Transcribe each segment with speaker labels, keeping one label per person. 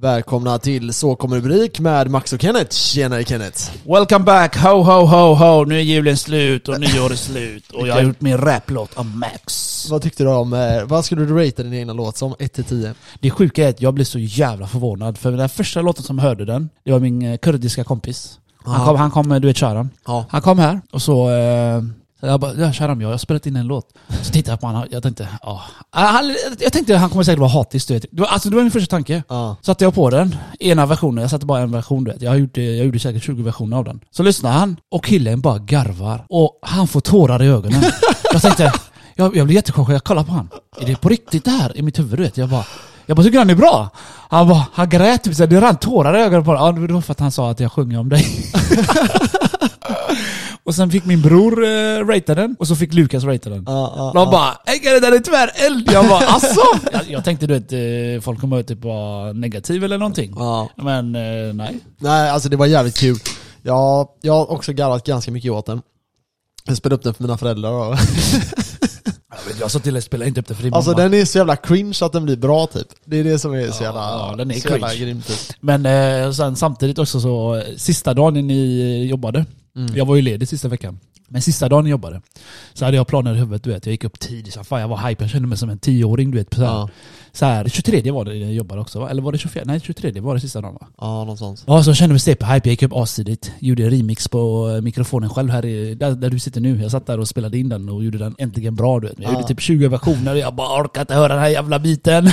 Speaker 1: Välkomna till Så kommer rubrik med Max och Kenneth. Tjenare Kenneth!
Speaker 2: Welcome back, ho ho ho ho, nu är julen slut och nyår är slut och jag har gjort min raplåt av Max.
Speaker 1: Vad tyckte du om, eh, vad skulle du ratea din egna låt som? 1-10?
Speaker 2: Det sjuka är att jag blev så jävla förvånad för den första låten som hörde den, det var min eh, kurdiska kompis. Han
Speaker 1: Aha.
Speaker 2: kom, han kom eh, du vet Sharam.
Speaker 1: Ja.
Speaker 2: Han kom här och så, eh, så jag bara, ja Sharam jag har spelat in en låt. Så tittade jag på honom, jag tänkte, ja. Ah, han- Jag tänkte han kommer säkert vara hatisk du vet. Det var, alltså det var min första tanke.
Speaker 1: Ja.
Speaker 2: Satte jag på den, ena versionen, jag satte bara en version du vet. Jag gjorde, jag gjorde säkert 20 versioner av den. Så lyssnar han och killen bara garvar och han får tårar i ögonen. Jag tänkte, jag, jag blev jättechockad, jag kollar på han. Är det på riktigt det här i mitt huvud du vet? Jag bara, jag bara tycker han är bra. Han bara, han grät typ såhär, det rann tårar i ögonen på honom. Ja, det var för att han sa att jag sjunger om dig. och sen fick min bror eh, ratea den och så fick Lukas ratea den.
Speaker 1: Ja,
Speaker 2: De bara "Hej, Kalle, den är tyvärr eld. Jag bara asså? jag, jag tänkte du vet, eh, folk kommer typ vara negativ eller någonting.
Speaker 1: ja.
Speaker 2: Men eh, nej.
Speaker 1: Nej, alltså det var jävligt kul. Jag, jag har också garvat ganska mycket åt den. Jag spelade upp den för mina föräldrar och...
Speaker 2: Jag sa till dig, spela inte upp det för din
Speaker 1: Alltså
Speaker 2: mamma.
Speaker 1: den är så jävla cringe att den blir bra typ. Det är det som är så jävla,
Speaker 2: ja, den är
Speaker 1: så jävla
Speaker 2: cringe.
Speaker 1: grym typ.
Speaker 2: Men eh, sen samtidigt också så, eh, sista dagen ni eh, jobbade. Jag var ju ledig sista veckan. Men sista dagen ni jobbade, så hade jag planer i huvudet. Du vet, jag gick upp tidigt, så fan, jag var hype, jag kände mig som en tioåring. Du vet, så här.
Speaker 1: Ja.
Speaker 2: Så här, 23 var det ni jobbade också va? Eller var det 24? Nej 23 var det sista dagen va?
Speaker 1: Ja, något sånt.
Speaker 2: Ja, så jag kände mig CP-hype. Jag gick upp astidigt. Gjorde remix på eh, mikrofonen själv här i, där, där du sitter nu. Jag satt där och spelade in den och gjorde den äntligen bra. Du vet. Jag gjorde typ 20 versioner och jag bara orkar inte höra den här jävla biten.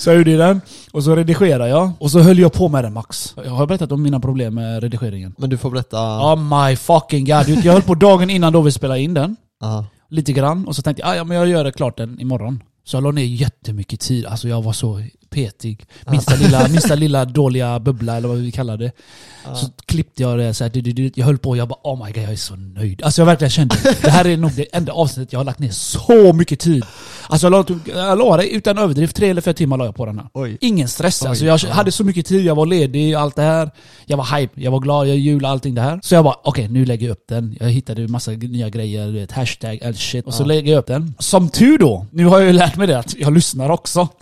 Speaker 2: så jag gjorde den. Och så redigerade jag. Och så höll jag på med den max. Jag har berättat om mina problem med redigeringen.
Speaker 1: Men du får berätta...
Speaker 2: Oh my fucking god. Du vet, Jag höll på dagen innan då vi spelade in den
Speaker 1: Ja.
Speaker 2: lite grann och så tänkte jag "Ah, ja, men jag gör det klart den imorgon. Så jag la ner jättemycket tid, alltså jag var så petig. Minsta lilla, minsta lilla dåliga bubbla eller vad vi kallar det. Så klippte jag det så här, du, du, du, jag höll på och jag bara oh my god jag är så nöjd. Alltså jag verkligen kände, det här är nog det enda avsnittet jag har lagt ner så mycket tid. Alltså jag la, typ- jag la det utan överdrift, tre eller fyra timmar la jag på den här.
Speaker 1: Oj.
Speaker 2: Ingen stress.
Speaker 1: Oj,
Speaker 2: alltså jag
Speaker 1: ja.
Speaker 2: hade så mycket tid, jag var ledig, allt det här. Jag var hype, jag var glad, jag jul, allting det här. Så jag bara, okej nu lägger jag upp den. Jag hittade ju massa nya grejer, du vet, hashtag, all shit. Och så lägger jag upp den. Som tur då, nu har jag ju lärt mig det att jag lyssnar också.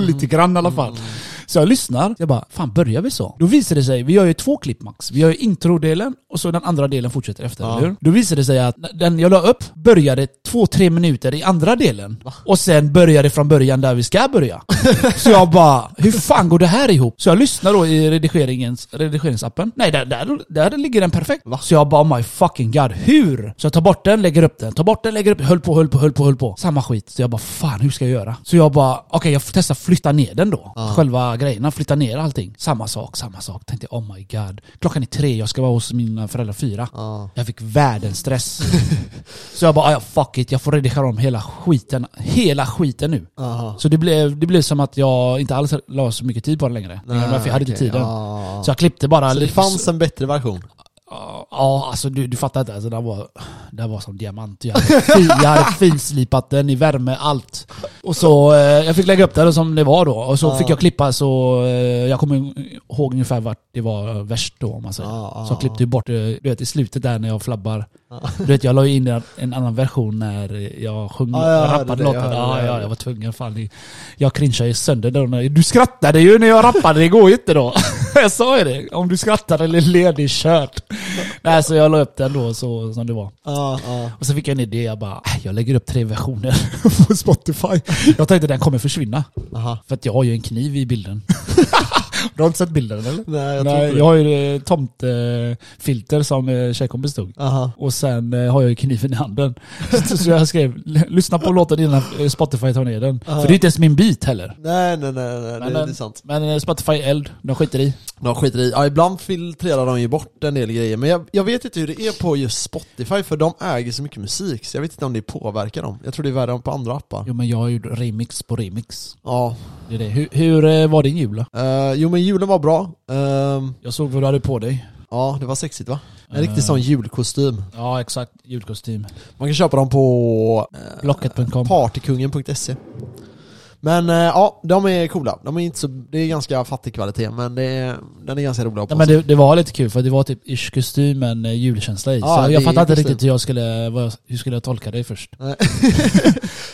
Speaker 2: Lite grann i alla fall.
Speaker 1: Mm.
Speaker 2: Så jag lyssnar, jag bara, fan börjar vi så? Då visar det sig, vi gör ju två klipp max. Vi gör ju introdelen och så den andra delen fortsätter efter,
Speaker 1: Ja.
Speaker 2: eller hur? Då visar det sig att den jag la upp började två, tre minuter i andra delen. Och sen började från början där vi ska börja. Så jag bara, hur fan går det här ihop? Så jag lyssnar då i redigeringens, redigeringsappen. Nej, där, där, där ligger den perfekt. Så jag bara, oh my fucking god, hur? Så jag tar bort den, lägger upp den, tar bort den, lägger upp den, höll på, höll på, höll på, höll på. Samma skit. Så jag bara, fan hur ska jag göra? Så jag bara, okej jag får testa flytta ner den då. Själva grejerna, flytta ner allting. Samma sak, samma sak. Tänkte jag, oh my god. Klockan är tre, jag ska vara hos mina föräldrar fyra.
Speaker 1: Ja.
Speaker 2: Jag fick världens stress. så jag bara, "Ah, ja fuck it, jag får redigera om hela skiten, hela skiten nu.
Speaker 1: Aha.
Speaker 2: Så det blev, det blev som att jag inte alls la så mycket tid på den längre. Nej, jag hade inte
Speaker 1: okej,
Speaker 2: tiden.
Speaker 1: ja.
Speaker 2: Så jag klippte bara...
Speaker 1: Så det fanns en bättre version?
Speaker 2: Ja, alltså du, du fattar inte. Alltså, den, var, den var som diamant. Jag hade, fin, jag hade finslipat den i värme, allt. Och så, eh, jag fick lägga upp den som det var då. Och så
Speaker 1: Ja.
Speaker 2: fick jag klippa så, eh, jag kommer ihåg ungefär vart det var värst då om man säger.
Speaker 1: Ja, ja,
Speaker 2: så jag klippte ju bort, eh, du vet i slutet där när jag flabbar. Du vet jag la ju in en- en annan version när jag sjöng,
Speaker 1: Ah, Ja, jag hörde det,
Speaker 2: rappade
Speaker 1: jag
Speaker 2: låten.
Speaker 1: hörde det, jag
Speaker 2: Ja,
Speaker 1: hörde
Speaker 2: ja,
Speaker 1: det.
Speaker 2: jag var tvungen. Fan, det- jag cringeade ju sönder då. när- Du skrattade ju när jag rappade, det går ju inte då. Jag sa ju det. Om du skrattar eller ler, det är kört. Nej, så jag la upp den då så, som det var.
Speaker 1: Ja, ja.
Speaker 2: Och så fick jag en idé, jag bara, "Äh, jag lägger upp tre versioner på Spotify. Jag tänkte den kommer försvinna.
Speaker 1: Aha.
Speaker 2: För att jag har ju en kniv i bilden. Du har inte sett bilden eller?
Speaker 1: Nej, jag tror
Speaker 2: Nej,
Speaker 1: inte det.
Speaker 2: jag har ju eh, tomtefilter som eh, tjejkompis tog.
Speaker 1: Aha.
Speaker 2: Och sen eh, har jag ju kniven i handen. Så, så jag skrev, lyssna på låten innan eh, Spotify tar ner den. För det är inte ens min beat heller.
Speaker 1: Nej, nej, nej, nej,
Speaker 2: Men,
Speaker 1: det, det är
Speaker 2: den-
Speaker 1: sant.
Speaker 2: men eh, Spotify eld, de skiter i.
Speaker 1: De skiter i, ja ibland filtrerar de ju bort en del grejer men jag, jag vet inte hur det är på just Spotify för de äger så mycket musik så jag vet inte om det påverkar dem. Jag tror det är värre än på andra appar.
Speaker 2: Jo men jag har ju remix på remix.
Speaker 1: Ja.
Speaker 2: Det är det. Hur, hur eh, var din jul då?
Speaker 1: Eh, jo men julen var bra. Ehm,
Speaker 2: Jag såg vad du hade på dig.
Speaker 1: ja det var sexigt va? En riktig
Speaker 2: Eh.
Speaker 1: sån julkostym.
Speaker 2: Ja exakt, julkostym.
Speaker 1: Man kan köpa dem på eh,
Speaker 2: Blocket.com.
Speaker 1: partykungen.se E. Men eh, ja, de är coola. De är inte så, det är ganska fattig kvalitet, men det är, den är ganska rolig att ha
Speaker 2: Nej,
Speaker 1: på
Speaker 2: men
Speaker 1: sig.
Speaker 2: det, det var lite kul för det var typ ish kostym men eh, julkänsla i.
Speaker 1: Ja,
Speaker 2: så
Speaker 1: det
Speaker 2: jag
Speaker 1: är
Speaker 2: fattade inte
Speaker 1: kostym.
Speaker 2: riktigt hur jag skulle, vad jag, hur skulle jag tolka det först.
Speaker 1: Nej.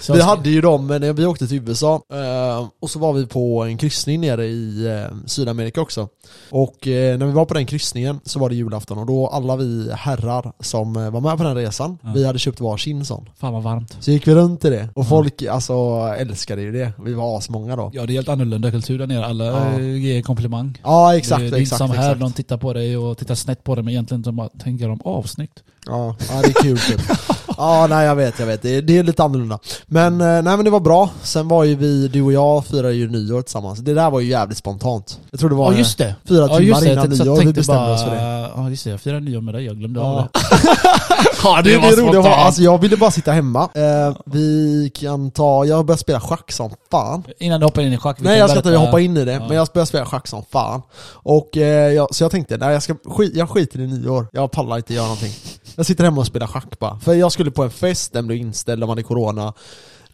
Speaker 2: Så
Speaker 1: Vi
Speaker 2: jag-
Speaker 1: hade ju dem, men eh, vi åkte till USA eh, och så var vi på en kryssning nere i eh, Sydamerika också. Och eh, när vi var på den kryssningen så var det julafton och då alla vi herrar som eh, var med på den resan,
Speaker 2: Ja.
Speaker 1: vi hade köpt varsin sån.
Speaker 2: Fan vad varmt.
Speaker 1: Så gick vi runt i det och folk alltså älskade ju det. Vi var asmånga då.
Speaker 2: Ja det är helt annorlunda kultur där nere. Alla
Speaker 1: Ja.
Speaker 2: eh, ger komplimang.
Speaker 1: Ja exakt,
Speaker 2: det, det är
Speaker 1: exakt.
Speaker 2: inte som här,
Speaker 1: exakt.
Speaker 2: de tittar på dig och tittar snett på dig men egentligen de bara tänker de avsnitt.
Speaker 1: Ja, ja det är kul typ. Ja, nej jag vet, jag vet. Det är, det är lite annorlunda. Men, eh, nej men det var bra. Sen var ju vi, du och jag firade ju nyår tillsammans. Det där var ju jävligt spontant. Jag tror det var
Speaker 2: Ja just det.
Speaker 1: fyra
Speaker 2: Ja,
Speaker 1: timmar
Speaker 2: just det.
Speaker 1: innan
Speaker 2: Så jag
Speaker 1: nyår vi
Speaker 2: tänkte
Speaker 1: bestämde
Speaker 2: bara,
Speaker 1: oss för det.
Speaker 2: Ja just det, jag firar nyår med dig. Jag glömde
Speaker 1: Ja.
Speaker 2: av det. ja
Speaker 1: Det, det, roliga var, alltså jag ville bara sitta hemma. Eh, vi kan ta, jag har börjat spela schack som fan.
Speaker 2: Innan du hoppar in i schack. vi
Speaker 1: Nej
Speaker 2: kan
Speaker 1: jag ska inte
Speaker 2: berätta-
Speaker 1: hoppa in i det,
Speaker 2: Ja.
Speaker 1: men jag började spela schack som fan. Och, eh, jag, så jag tänkte, nej jag, ska, skit, jag skiter i nyår, jag pallar inte göra någonting. Jag sitter hemma och spelar schack bara. För jag skulle på en fest, den blev inställd, de hade corona.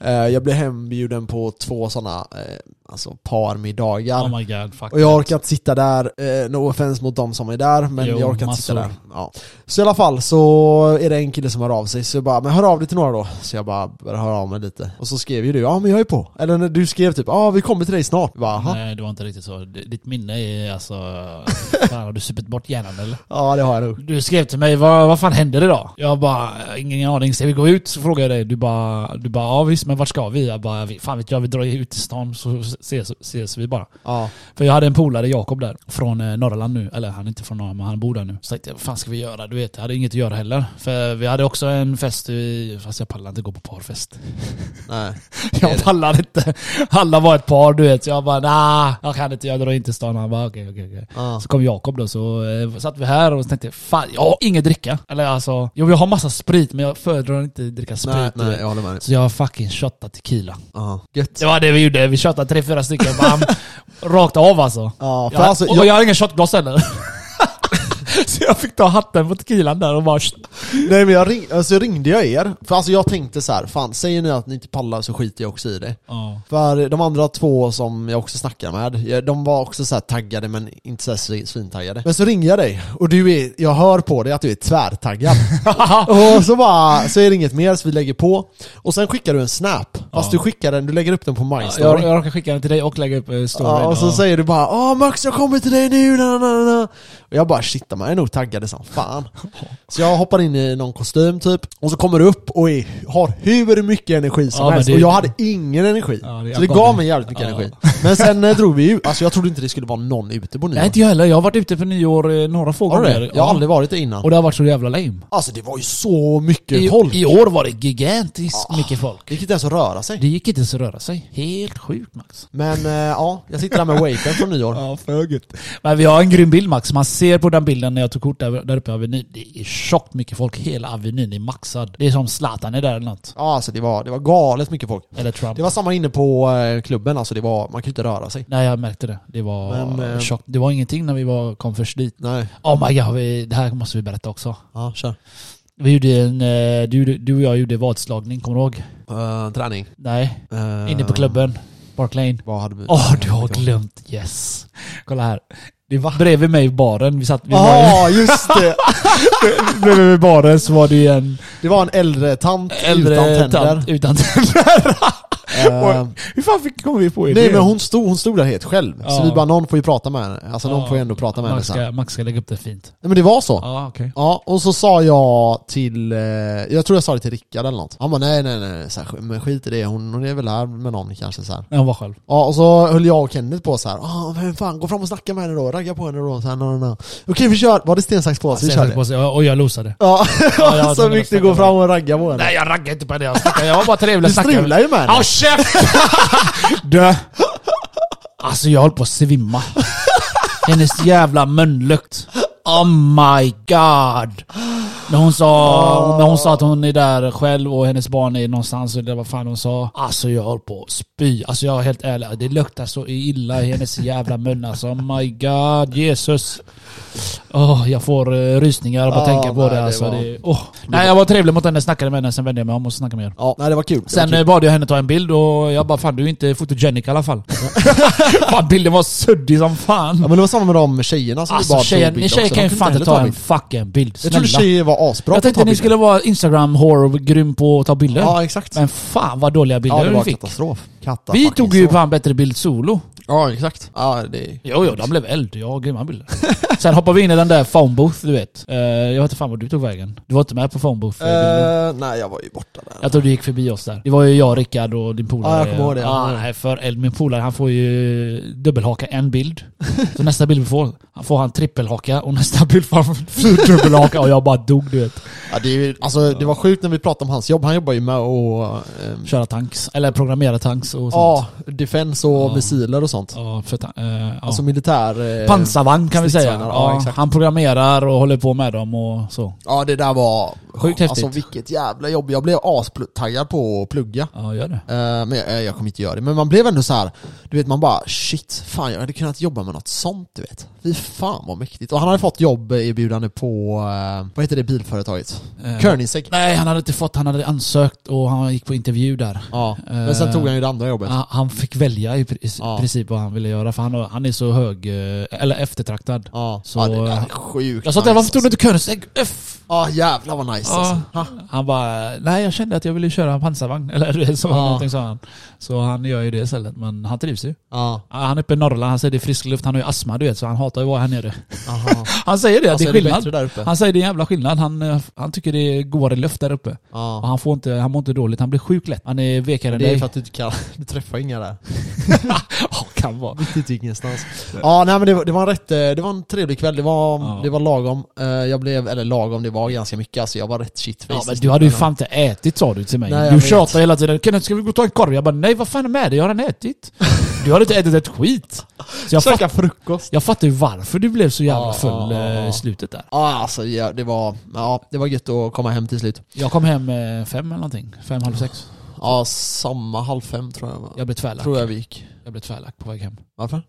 Speaker 1: Eh, jag blev hembjuden på två sådana eh, alltså parmiddagar.
Speaker 2: Oh my god, fuck.
Speaker 1: Och jag orkar inte sitta där, eh, no offense mot de som är där, men
Speaker 2: Jo,
Speaker 1: jag orkar inte sitta
Speaker 2: massor.
Speaker 1: där. Ja. Så i alla fall så är det en kille som hör av sig, så jag bara 'Men hör av dig till några då' Så jag bara börjar höra av mig lite. Och så skrev ju du 'Ja men jag är på' Eller när du skrev typ 'Ja vi kommer till dig snart' Jag bara, Aha.
Speaker 2: Nej, det var inte riktigt så. D- Ditt minne är alltså... Fan, har du supit bort hjärnan eller?
Speaker 1: Ja det har jag nog.
Speaker 2: Du skrev till mig, vad, vad fan händer idag? Jag bara, ingen aning. Ska vi gå ut? Så frågade jag dig. Du bara, du bara, ja visst, men vart ska vi? Jag bara, "Vi- fan vet jag, vi drar ju ut till stan så ses, ses vi bara.
Speaker 1: Ja.
Speaker 2: För jag hade en polare, Jakob där, från eh, Norrland nu. Eller han är inte från Norrland, men han bor där nu. Så tänkte jag, vad fan ska vi göra? Du vet, jag hade inget att göra heller. För vi hade också en fest, i, fast jag pallar inte gå på parfest.
Speaker 1: Nej.
Speaker 2: Jag pallar inte. Alla var ett par du vet, så jag bara nah, jag kan inte, jag drar inte till stan. Han bara okej, okej, okej.
Speaker 1: Ja.
Speaker 2: Så kom Jakob då, så eh, satt vi här och tänkte fan, jag har inget dricka. Eller alltså, jo jag har massa sprit men jag föredrar inte att dricka sprit.
Speaker 1: Nej,
Speaker 2: du vet.
Speaker 1: nej, jag håller med dig.
Speaker 2: Så jag har fucking shottat tequila.
Speaker 1: Ja. Gött.
Speaker 2: Det var det vi gjorde, vi shottade tre, fyra stycken. Bam, rakt av alltså.
Speaker 1: Ja, för
Speaker 2: Jag,
Speaker 1: alltså,
Speaker 2: och
Speaker 1: jag,
Speaker 2: jag har ingen shotglas heller. så jag fick ta hatten på tequilan där och bara...
Speaker 1: nej, men jag ring, alltså, ringde jag er, för alltså jag tänkte så här, fan säger ni att ni inte pallar så skiter jag också i det.
Speaker 2: Ja.
Speaker 1: För de andra två som jag också snackade med, jag- de var också så här taggade men inte så här svin- svintaggade. Men så ringer jag dig och du är, jag hör på dig att du är tvärtaggad. och så bara, så är det inget mer så vi lägger på. Och sen skickar du en snap. Fast du skickar den, du lägger upp den på My Story.
Speaker 2: Jag, jag råkar skicka den till dig och lägga upp eh, storyn.
Speaker 1: Ja, och så
Speaker 2: Ja.
Speaker 1: säger du bara Åh Max jag kommer till dig nu, na, na, na, na. Och jag bara shit, man är nog taggad som fan. Så jag hoppar in i någon kostym typ, och så kommer du upp och är, har hur mycket energi som
Speaker 2: Ja, men
Speaker 1: helst.
Speaker 2: det-
Speaker 1: Och jag hade ingen energi.
Speaker 2: Ja, det är
Speaker 1: så det
Speaker 2: bara-
Speaker 1: gav mig jävligt mycket
Speaker 2: Ja.
Speaker 1: energi. Men sen eh, drog vi ju, alltså jag trodde inte det skulle vara någon ute på
Speaker 2: Nej
Speaker 1: nyår.
Speaker 2: inte jag heller, jag har varit ute på nyår eh, några få
Speaker 1: Har du
Speaker 2: gånger.
Speaker 1: det? Jag har aldrig varit det innan.
Speaker 2: Och det har varit så jävla lame.
Speaker 1: Alltså det var ju så mycket
Speaker 2: I,
Speaker 1: folk.
Speaker 2: I år var det gigantiskt
Speaker 1: Ah.
Speaker 2: mycket folk.
Speaker 1: Det gick inte ens att röra sig.
Speaker 2: Det gick inte ens att röra sig. Helt sjukt Max.
Speaker 1: Men eh, ja, jag sitter där med Wapen från nyår.
Speaker 2: Ja, föget. Men vi har en grym bild Max. Man ser på den bilden när jag tog kort där, där uppe i Avenyn. Det är tjockt mycket folk. Hela Avenyn är maxad. Det är som Zlatan är där eller något.
Speaker 1: Ja, alltså det var, det var galet mycket folk.
Speaker 2: Eller Trump.
Speaker 1: Det var samma inne på eh, klubben, alltså det var, man kunde inte röra sig.
Speaker 2: Nej jag märkte det. Det var
Speaker 1: Men, eh,
Speaker 2: tjockt. Det var ingenting när vi var, kom först dit.
Speaker 1: Nej.
Speaker 2: Oh my god, vi, det här måste vi berätta också.
Speaker 1: Ja, kör.
Speaker 2: Vi gjorde en... eh, Du, du och jag gjorde vadslagning, kommer du ihåg?
Speaker 1: träning.
Speaker 2: Nej.
Speaker 1: Eh,
Speaker 2: Inne på klubben, Park Lane.
Speaker 1: Vad hade vi?
Speaker 2: Åh, du har glömt. Yes. Kolla här. Det var bredvid mig i baren. Vi satt vi var
Speaker 1: Ja, ah, just det!
Speaker 2: i, bredvid baren så var det ju en
Speaker 1: Det var en äldre tant
Speaker 2: äldre
Speaker 1: utan tänder.
Speaker 2: tant utan tänder.
Speaker 1: Eh,
Speaker 2: Hur fan fick, kom vi på idén?
Speaker 1: nej men hon stod, hon stod där helt själv.
Speaker 2: Ja.
Speaker 1: Så vi bara, någon får ju prata med henne. Alltså någon får ju ändå prata med henne
Speaker 2: Max
Speaker 1: sen. Nej
Speaker 2: ska, Max ska lägga upp det fint.
Speaker 1: men det var så. Ja.
Speaker 2: Ja, okej.
Speaker 1: och så sa jag till, eh, jag tror jag sa det till Rickard eller något. Han bara nej nej nej, så här, men skit i det, hon, hon är väl här med någon kanske så här.
Speaker 2: Nej, hon var själv.
Speaker 1: Ja, och så höll jag och Kenneth på så här. ah men fan, gå fram och snacka med henne då, ragga på henne då. Så här, na, na, na. Okej vi kör, var det sten, sax, påse? Vi kör
Speaker 2: Sen satte
Speaker 1: det.
Speaker 2: på sig, och jag losade.
Speaker 1: Ja,
Speaker 2: Ja, jag var
Speaker 1: så
Speaker 2: tvungen att
Speaker 1: fick du
Speaker 2: snacka
Speaker 1: gå
Speaker 2: med
Speaker 1: fram och ragga på henne.
Speaker 2: Nej, jag raggade inte på det. Jag, snackade, jag var bara trevlig.
Speaker 1: Du strular ju med henne.
Speaker 2: Ja, käft! Dö. Alltså jag höll på att svimma. Hennes jävla munlukt. Oh my god. När hon, sa, när hon sa att hon är där själv och hennes barn är någonstans och det vad fan hon sa. Alltså jag höll på att spy. Alltså jag är helt ärlig. Det luktar så illa i hennes jävla mun alltså. Oh my god. Jesus. Åh, jag får eh, rysningar av att
Speaker 1: Ah,
Speaker 2: tänka på
Speaker 1: nej,
Speaker 2: det,
Speaker 1: det
Speaker 2: alltså.
Speaker 1: var-
Speaker 2: Det, åh. Nej, jag var trevlig mot henne, snackade med henne, sen vände jag mig om och snackade med er.
Speaker 1: Ja, nej det var kul. Det
Speaker 2: Sen
Speaker 1: var typ-
Speaker 2: eh,
Speaker 1: kul.
Speaker 2: bad jag henne ta en bild och jag bara fan du är inte fotogenic i alla fall. fan bilden var suddig som
Speaker 1: Ja
Speaker 2: fan.
Speaker 1: men det var samma med de tjejerna som vi
Speaker 2: Alltså
Speaker 1: bad
Speaker 2: tjejer,
Speaker 1: på bild
Speaker 2: ni tjejer
Speaker 1: också. De
Speaker 2: kan ju
Speaker 1: kunde
Speaker 2: fan inte
Speaker 1: heller
Speaker 2: ta en
Speaker 1: bild.
Speaker 2: fucking bild.
Speaker 1: Jag trodde
Speaker 2: Snälla. Jag,
Speaker 1: tjejer var asbra på att
Speaker 2: tänkte
Speaker 1: ta
Speaker 2: ni
Speaker 1: bilder.
Speaker 2: skulle vara instagram whore och grym på att ta bilder.
Speaker 1: Ja exakt.
Speaker 2: Men fan vad dåliga
Speaker 1: Ja
Speaker 2: bilder
Speaker 1: det
Speaker 2: vi
Speaker 1: var
Speaker 2: fick.
Speaker 1: katastrof. Katta
Speaker 2: Vi
Speaker 1: fucking
Speaker 2: tog ju
Speaker 1: strof.
Speaker 2: fan bättre bild solo.
Speaker 1: Ja exakt. Ja det...
Speaker 2: Jo, jo, de blev eld. Ja, grymma bilder. Sen hoppar vi in i den där phone booth, du vet. Eh, jag vet inte fan var du tog vägen. Du var inte med på phone booth. bilden.
Speaker 1: Eh, nej jag var ju borta där.
Speaker 2: Jag tror du gick förbi oss där. Det var ju jag, Rickard och din polare.
Speaker 1: Ja, jag kommer ihåg det. Jag kommer
Speaker 2: Ah,
Speaker 1: ihåg det.
Speaker 2: nej, för eld. Min polare han får ju dubbelhaka en bild. Så nästa bild vi får, han får han trippelhaka och nästa bild får han dubbelhaka och jag bara dog du vet.
Speaker 1: Ja, det, är ju- alltså, det var sjukt när vi pratade om hans jobb, han jobbar ju med att... ehm,
Speaker 2: Köra tanks, eller programmera tanks och sånt.
Speaker 1: Ja, defense och
Speaker 2: Ja.
Speaker 1: missiler och sånt.
Speaker 2: Ja, för, ta- eh, ja.
Speaker 1: Alltså militär... eh,
Speaker 2: Pansarvagn kan vi säga.
Speaker 1: stridsvagnar, ja,
Speaker 2: Ja,
Speaker 1: exakt.
Speaker 2: han programmerar och håller på med dem och så.
Speaker 1: Ja det där var...
Speaker 2: Sjukt
Speaker 1: Alltså
Speaker 2: häftigt.
Speaker 1: vilket jävla jobb. Jag blev astaggad på att plugga.
Speaker 2: Ja, gör det.
Speaker 1: Eh, Men jag, eh, jag kommer inte göra det. Men man blev ändå så här. du vet man bara shit, fan jag hade kunnat jobba med något sånt du vet. Fy fan vad mäktigt. Och han hade fått jobb erbjudande på, eh, vad heter det bilföretaget?
Speaker 2: Eh,
Speaker 1: Koenigsegg.
Speaker 2: Nej, han hade inte fått. Han hade ansökt och han gick på intervju där.
Speaker 1: Ja, men
Speaker 2: Eh.
Speaker 1: sen tog han ju det andra jobbet.
Speaker 2: Han- Han fick välja i pri-
Speaker 1: Ja.
Speaker 2: princip vad han ville göra för han, har- han är så hög, eh, eller eftertraktad.
Speaker 1: Ja,
Speaker 2: Så-
Speaker 1: ja det där är sjukt
Speaker 2: Jag sa till honom, varför
Speaker 1: nice, alltså.
Speaker 2: tog du inte Königsegg? F!
Speaker 1: Ja jävlar vad nice alltså.
Speaker 2: Ja. Han bara, nej jag kände att jag ville köra en pansarvagn. Eller du vet, så,
Speaker 1: Ja.
Speaker 2: någonting sa han. Så han gör ju det istället, men han trivs ju.
Speaker 1: Ja,
Speaker 2: Ja, Han är uppe i Norrland, han säger det är frisk luft, han har ju astma du vet, så han hatar ju att vara här nere.
Speaker 1: aha.
Speaker 2: Han säger det, att
Speaker 1: Alltså,
Speaker 2: det är
Speaker 1: är det bättre
Speaker 2: skillnad.
Speaker 1: där uppe?
Speaker 2: Han säger det är en jävla skillnad. Han, eh, han tycker det är godare luft där uppe. Och
Speaker 1: Ja.
Speaker 2: han, får inte, han mår inte dåligt, han blir sjuk lätt. Han är vekare än
Speaker 1: Det är
Speaker 2: dig.
Speaker 1: för att du inte kan, du träffar inga där.
Speaker 2: Ja, kan vara.
Speaker 1: Mitt ute i ingenstans. Ja, nej men det var, det var en rätt, eh, det var en trevlig kväll. Det var,
Speaker 2: Ja.
Speaker 1: det var lagom. Eh, Jag blev, eller lagom, det var ganska mycket alltså. Jag var rätt shitface.
Speaker 2: Ja, men du hade ju fan inte ätit sa du till mig.
Speaker 1: Nej, jag
Speaker 2: du
Speaker 1: vet.
Speaker 2: tjatar hela tiden. Kenneth ska vi gå och ta en korv? Jag bara nej vad fan är med dig? Jag har redan ätit. Du har inte ätit ett skit. Så jag, fatt,
Speaker 1: Käka frukost.
Speaker 2: jag fattar ju varför du blev så jävla
Speaker 1: Ja,
Speaker 2: full
Speaker 1: ja, ja,
Speaker 2: eh,
Speaker 1: ja.
Speaker 2: i slutet där.
Speaker 1: Ja, alltså ja, det var, ja, det var gött att komma hem till slut.
Speaker 2: Jag kom hem eh, fem eller någonting. Fem, halv sex.
Speaker 1: Ja, samma halv fem tror jag. var.
Speaker 2: Jag blev tvärlack.
Speaker 1: tror jag vi gick.
Speaker 2: Jag blev tvärlack på väg hem.
Speaker 1: Varför?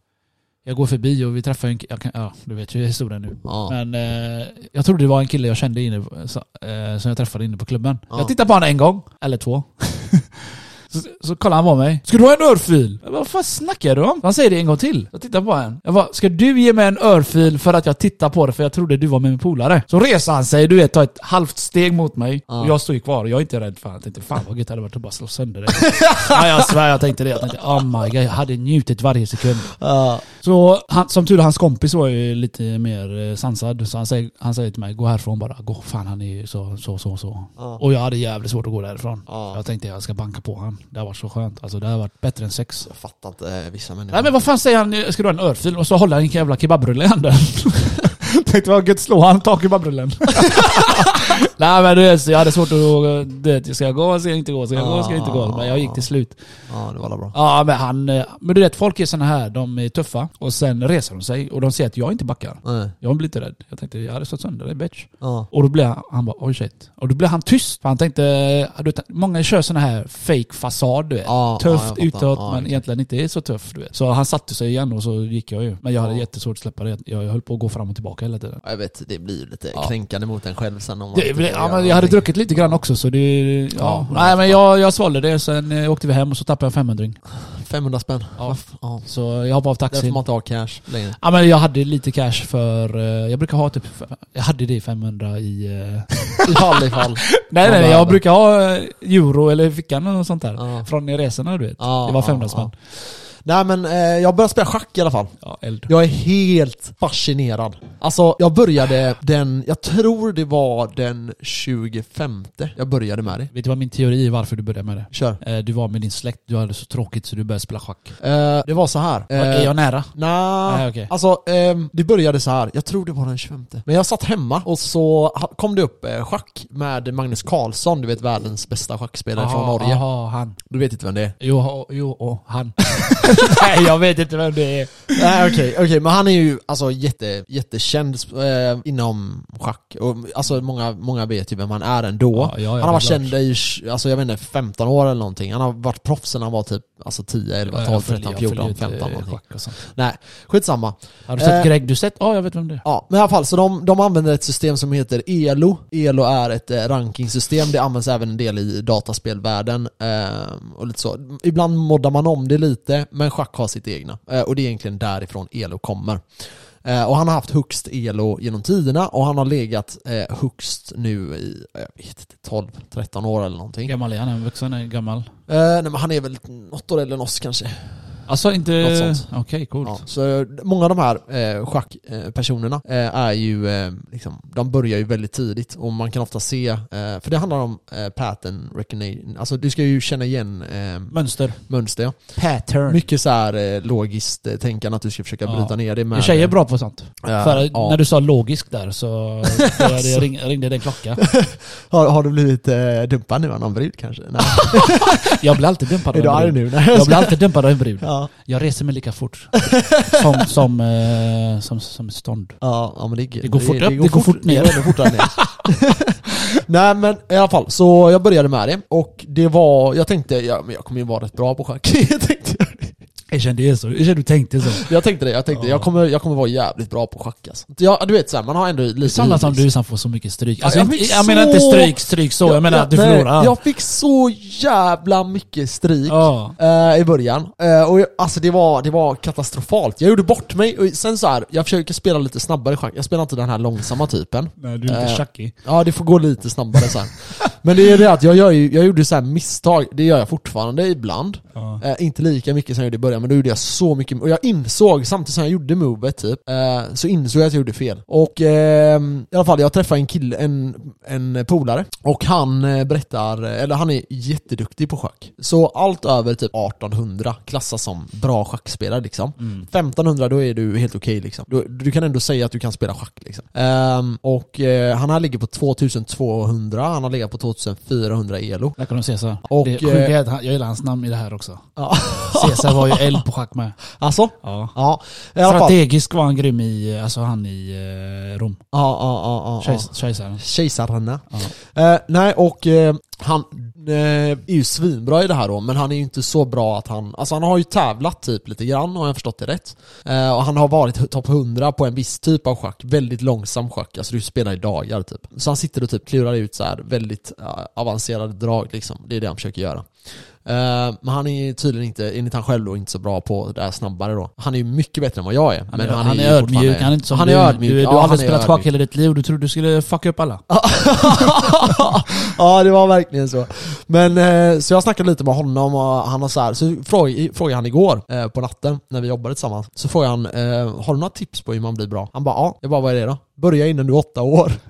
Speaker 2: Jag går förbi och vi träffar en ki- jag kan, Ja, du vet ju historien nu.
Speaker 1: Ja.
Speaker 2: Men eh, jag trodde det var en kille jag kände inne, så, eh, som jag träffade inne på klubben.
Speaker 1: Ja.
Speaker 2: Jag tittade på honom en gång, eller två. så, så kollade han på mig. Ska du ha en örfil? Jag bara, Vad fan snackar du om? Han säger det en gång till. Jag tittar på honom. Jag bara, ska du ge mig en örfil för att jag tittar på dig för jag trodde du var med min polare? Så reser han sig, du vet, tar ett halvt steg mot mig.
Speaker 1: Ja.
Speaker 2: Och jag står ju kvar och jag är inte rädd för honom. Jag tänkte, fan vad gött det hade varit att bara slå sönder dig. ja, jag svär, jag tänkte det. Jag tänkte, oh my god, jag hade njutit varje sekund.
Speaker 1: Ja.
Speaker 2: Så han, som tur är, hans kompis var ju lite mer eh, sansad. Så han säger, han säger till mig, gå härifrån bara. Gå, fan han är ju så, så, så, så.
Speaker 1: Ja.
Speaker 2: Och jag hade jävligt svårt att gå därifrån.
Speaker 1: Ja.
Speaker 2: Jag tänkte jag ska banka på han. Det har varit så skönt. Alltså det har varit bättre än sex.
Speaker 1: Jag fattar inte eh, vissa människor.
Speaker 2: Nej men vad fan säger han, ska du ha en örfil? Och så håller han en jävla kebabrulle i handen. tänkte vad gött, slå han, ta kebabrullen. Nej men du vet, så jag hade svårt att, du vet, ska jag gå, ska jag inte gå, ska jag gå, ska jag inte gå? Men jag gick till slut.
Speaker 1: Ja, det var alla bra.
Speaker 2: Ja, men han... eh, Men du vet, folk är såna här. De är tuffa och sen reser de sig och de ser att jag inte backar.
Speaker 1: Nej.
Speaker 2: Jag blir inte rädd. Jag tänkte, jag hade slått sönder dig bitch.
Speaker 1: Ja.
Speaker 2: Och då blev han, han bara, oj shit. Och då blev han tyst. För han tänkte, eh, du vet, många kör såna här fake fasad du vet.
Speaker 1: Ja,
Speaker 2: Tufft
Speaker 1: ja, jag fattar.
Speaker 2: utåt
Speaker 1: Ja,
Speaker 2: men
Speaker 1: exakt.
Speaker 2: egentligen inte är så tuff du vet. Så han satte sig igen och så gick jag ju. Men jag hade
Speaker 1: Ja.
Speaker 2: jättesvårt att släppa det. Jag höll på att gå fram och tillbaka hela tiden.
Speaker 1: Ja, Jag vet, det blir ju lite
Speaker 2: Ja.
Speaker 1: kränkande mot en själv sen om man inte
Speaker 2: Det, det,
Speaker 1: får
Speaker 2: ja,
Speaker 1: göra
Speaker 2: men jag hade
Speaker 1: någonting.
Speaker 2: druckit lite grann också så det... Ja.
Speaker 1: Ja,
Speaker 2: Nej men jag, jag svalde det, sen eh, åkte vi hem och så tappade jag 500
Speaker 1: 500 spänn.
Speaker 2: ja.
Speaker 1: Ja.
Speaker 2: Så jag hoppade av
Speaker 1: Där får
Speaker 2: taxin.
Speaker 1: man inte ha cash längre.
Speaker 2: Ja men jag hade lite cash för, eh, jag brukar ha typ, jag hade det 500 i... eh,
Speaker 1: Ifall, ifall.
Speaker 2: nej nej,
Speaker 1: behöver.
Speaker 2: jag brukar ha eh, euro eller i fickan och sånt där.
Speaker 1: Ja.
Speaker 2: Från resorna du vet.
Speaker 1: Ja,
Speaker 2: det var
Speaker 1: ja,
Speaker 2: 500
Speaker 1: ja.
Speaker 2: spänn.
Speaker 1: Nej men eh, jag började spela schack i alla fall.
Speaker 2: Ja, eld.
Speaker 1: Jag är helt fascinerad. Alltså jag började den, jag tror det var den 25 jag började med det.
Speaker 2: Vet du vad min teori är varför du började med det?
Speaker 1: Kör.
Speaker 2: Eh, Du var med din släkt, du hade så tråkigt så du började spela schack.
Speaker 1: Eh, det var så här. Eh,
Speaker 2: är jag nära?
Speaker 1: Nja,
Speaker 2: Nej, okej.
Speaker 1: alltså ehm, det började så här. jag tror det var den 25. Men jag satt hemma och så ha- kom det upp eh, schack med Magnus Carlsson, du vet världens bästa schackspelare från Norge.
Speaker 2: aha, han.
Speaker 1: Du vet inte vem det är?
Speaker 2: Jo, ho- jo oh, han. Nej, jag vet inte vem det är.
Speaker 1: Nej okej, okej men han är ju alltså jätte, jättekänd eh, inom schack. Och, alltså många, många vet ju vem han är ändå.
Speaker 2: Ja, ja, ja,
Speaker 1: han har varit
Speaker 2: det är
Speaker 1: känd i, alltså jag vet inte, 15 år eller någonting. Han har varit proffs sedan han var typ alltså 10, 11, 12, 13, 14, 15 någonting. Nej, skitsamma.
Speaker 2: Har du sett
Speaker 1: Eh,
Speaker 2: Greg Doucette? Ja, jag vet vem det är.
Speaker 1: Ja, men i alla fall, så de, de använder ett system som heter ELO. ELO är ett eh, rankingsystem, det används även en del i dataspelvärlden. Eh, och lite så. Ibland moddar man om det lite, men schack har sitt egna. Eh, och det är egentligen därifrån ELO kommer. Eh, och han har haft högst ELO genom tiderna och han har legat eh, högst nu i, eh, jag vet inte, 12-13 år eller någonting.
Speaker 2: Hur gammal är han? En vuxen? Är gammal?
Speaker 1: Eh, nej men han är väl något år eller oss kanske.
Speaker 2: Alltså inte...
Speaker 1: Något sånt.
Speaker 2: Okej, coolt.
Speaker 1: Ja, så många av de här eh, schackpersonerna eh, är ju, eh, liksom, de börjar ju väldigt tidigt och man kan ofta se, eh, för det handlar om eh, pattern recognition, alltså du ska ju känna igen eh,
Speaker 2: Mönster.
Speaker 1: mönster. Ja.
Speaker 2: Pattern.
Speaker 1: Mycket så här eh, logiskt eh, tänkande att du ska försöka
Speaker 2: Mm. Ja.
Speaker 1: bryta ner det
Speaker 2: Men
Speaker 1: med...
Speaker 2: tjejer är bra på sånt.
Speaker 1: Eh,
Speaker 2: För
Speaker 1: ja. Alltså.
Speaker 2: när du sa logisk där så började jag ring, ringde det en klocka.
Speaker 1: har, har du blivit eh, dumpad nu av någon brud kanske? Nej.
Speaker 2: Jag blir alltid dumpad
Speaker 1: är du
Speaker 2: av
Speaker 1: arg
Speaker 2: en brud.
Speaker 1: nu? Nej,
Speaker 2: Jag
Speaker 1: jag
Speaker 2: blir alltid dumpad av en brud.
Speaker 1: ja.
Speaker 2: Jag reser mig lika fort. Som, som, eh, som, som ett stånd.
Speaker 1: Ja, ja, men det,
Speaker 2: Det går fort upp, det går fort ner.
Speaker 1: Det går ännu fortare ner. Nej men i alla fall, så jag började med det och det var, jag tänkte, ja, men jag kommer ju vara rätt bra på schack. jag, tänkte,
Speaker 2: Jag kände det så. Jag kände du tänkte så.
Speaker 1: jag tänkte det, jag tänkte
Speaker 2: Ja.
Speaker 1: jag kommer, jag kommer vara jävligt bra på schack alltså. jag, Du vet såhär, man har ändå lite...
Speaker 2: Det är sådana som
Speaker 1: hybris.
Speaker 2: du som får så mycket stryk. Alltså,
Speaker 1: Ja,
Speaker 2: jag,
Speaker 1: jag fick
Speaker 2: jag menar inte
Speaker 1: så-
Speaker 2: stryk, stryk så. Jag menar att du
Speaker 1: nej,
Speaker 2: förlorar allt.
Speaker 1: Jag fick så jävla mycket stryk.
Speaker 2: Ja.
Speaker 1: eh, I början. Eh, och jag, alltså det var, det var katastrofalt. Jag gjorde bort mig och sen så här, jag försöker spela lite snabbare schack. Jag spelar inte den här långsamma typen.
Speaker 2: Nej, du är lite
Speaker 1: Eh,
Speaker 2: tjackig.
Speaker 1: Ja, det får gå lite snabbare sen. Men det är det att jag, gör ju, jag gjorde så här misstag, det gör jag fortfarande ibland.
Speaker 2: Ja.
Speaker 1: Eh, inte lika mycket som jag gjorde i början, men då gjorde jag så mycket. Och jag insåg, samtidigt som jag gjorde movet typ, eh, så insåg jag att jag gjorde fel. Och ehm, i alla fall, jag träffade en kille, en, en polare, och han eh, berättar, eller han är jätteduktig på schack. Så allt över typ 1800 klassas som bra schackspelare liksom. 1500 då är du helt okej liksom. Du, du kan ändå säga att du kan spela schack liksom. Ehm, och eh, han här ligger på 2200, han har legat på 2400 elo.
Speaker 2: Där kan de se så.
Speaker 1: Och, eh,
Speaker 2: det sjuka är att han- jag gillar hans namn i det här också.
Speaker 1: Ja.
Speaker 2: Caesar var ju eld på schack med.
Speaker 1: Alltså?
Speaker 2: Ja.
Speaker 1: Ja, i alla fall. Ja,
Speaker 2: Strategisk var han grym i, alltså han i eh, Rom.
Speaker 1: ja, ja, ja, ja.
Speaker 2: Kejs- Kejsaren.
Speaker 1: Kejsarna.
Speaker 2: Ja.
Speaker 1: Eh, nej, och eh, han eh, är ju svinbra i det här då, men han är ju inte så bra att han... Alltså han har ju tävlat typ lite grann, har jag förstått det rätt. Eh, och han har varit topp 100 på en viss typ av schack, väldigt långsam schack, alltså du spelar i dagar typ. Så han sitter och typ klurar ut så här väldigt eh, avancerade drag liksom, det är det han försöker göra. Eh, Men han är ju tydligen inte, enligt han själv då, inte så bra på det här snabbare då. Han är ju mycket bättre än vad jag är.
Speaker 2: Han,
Speaker 1: men
Speaker 2: är, han,
Speaker 1: ju
Speaker 2: är
Speaker 1: fortfarande-
Speaker 2: ödmjuk, han är inte som
Speaker 1: Han
Speaker 2: du.
Speaker 1: är ödmjuk.
Speaker 2: Du, du
Speaker 1: Ja,
Speaker 2: har
Speaker 1: han
Speaker 2: aldrig
Speaker 1: är
Speaker 2: spelat schack
Speaker 1: ödmjuk.
Speaker 2: hela ditt liv och du trodde du skulle fucka upp alla.
Speaker 1: ja det var verkligen så. Men eh, så jag snackade lite med honom och han har så här, så frågade, frågade han igår eh, på natten när vi jobbade tillsammans. Så frågade han, eh, har du några tips på hur man blir bra? Han bara ja. Jag bara vad är det då? Börja innan du är åtta år.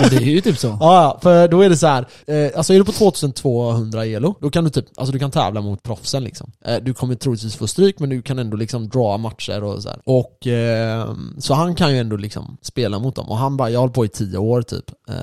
Speaker 2: Men det är ju typ så.
Speaker 1: Ja, ja, för då är det så här. Eh, alltså är du på 2200 elo, då kan du typ, alltså du kan tävla mot proffsen liksom. Eh, du kommer troligtvis få stryk men du kan ändå liksom dra matcher och så här. Och eh, så han kan ju ändå liksom spela mot dem. Och han bara, jag har hållit på i 10 år typ. Eh,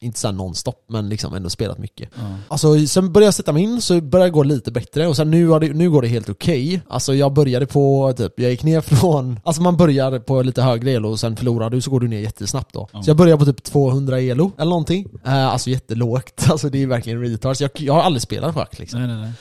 Speaker 1: inte såhär nonstop men liksom ändå spelat mycket.
Speaker 2: Ja.
Speaker 1: Alltså sen började jag sätta mig in så började det gå lite bättre och sen nu, har det, nu går det helt okej. Alltså jag började på typ, jag gick ner från, alltså man börjar på lite högre elo och sen förlorar du så går du ner jättesnabbt då.
Speaker 2: Ja.
Speaker 1: Så jag började på typ 200 elo eller någonting. Eh, alltså jättelågt, alltså det är verkligen retards. Jag, jag har aldrig spelat schack liksom.
Speaker 2: Nej, nej, nej.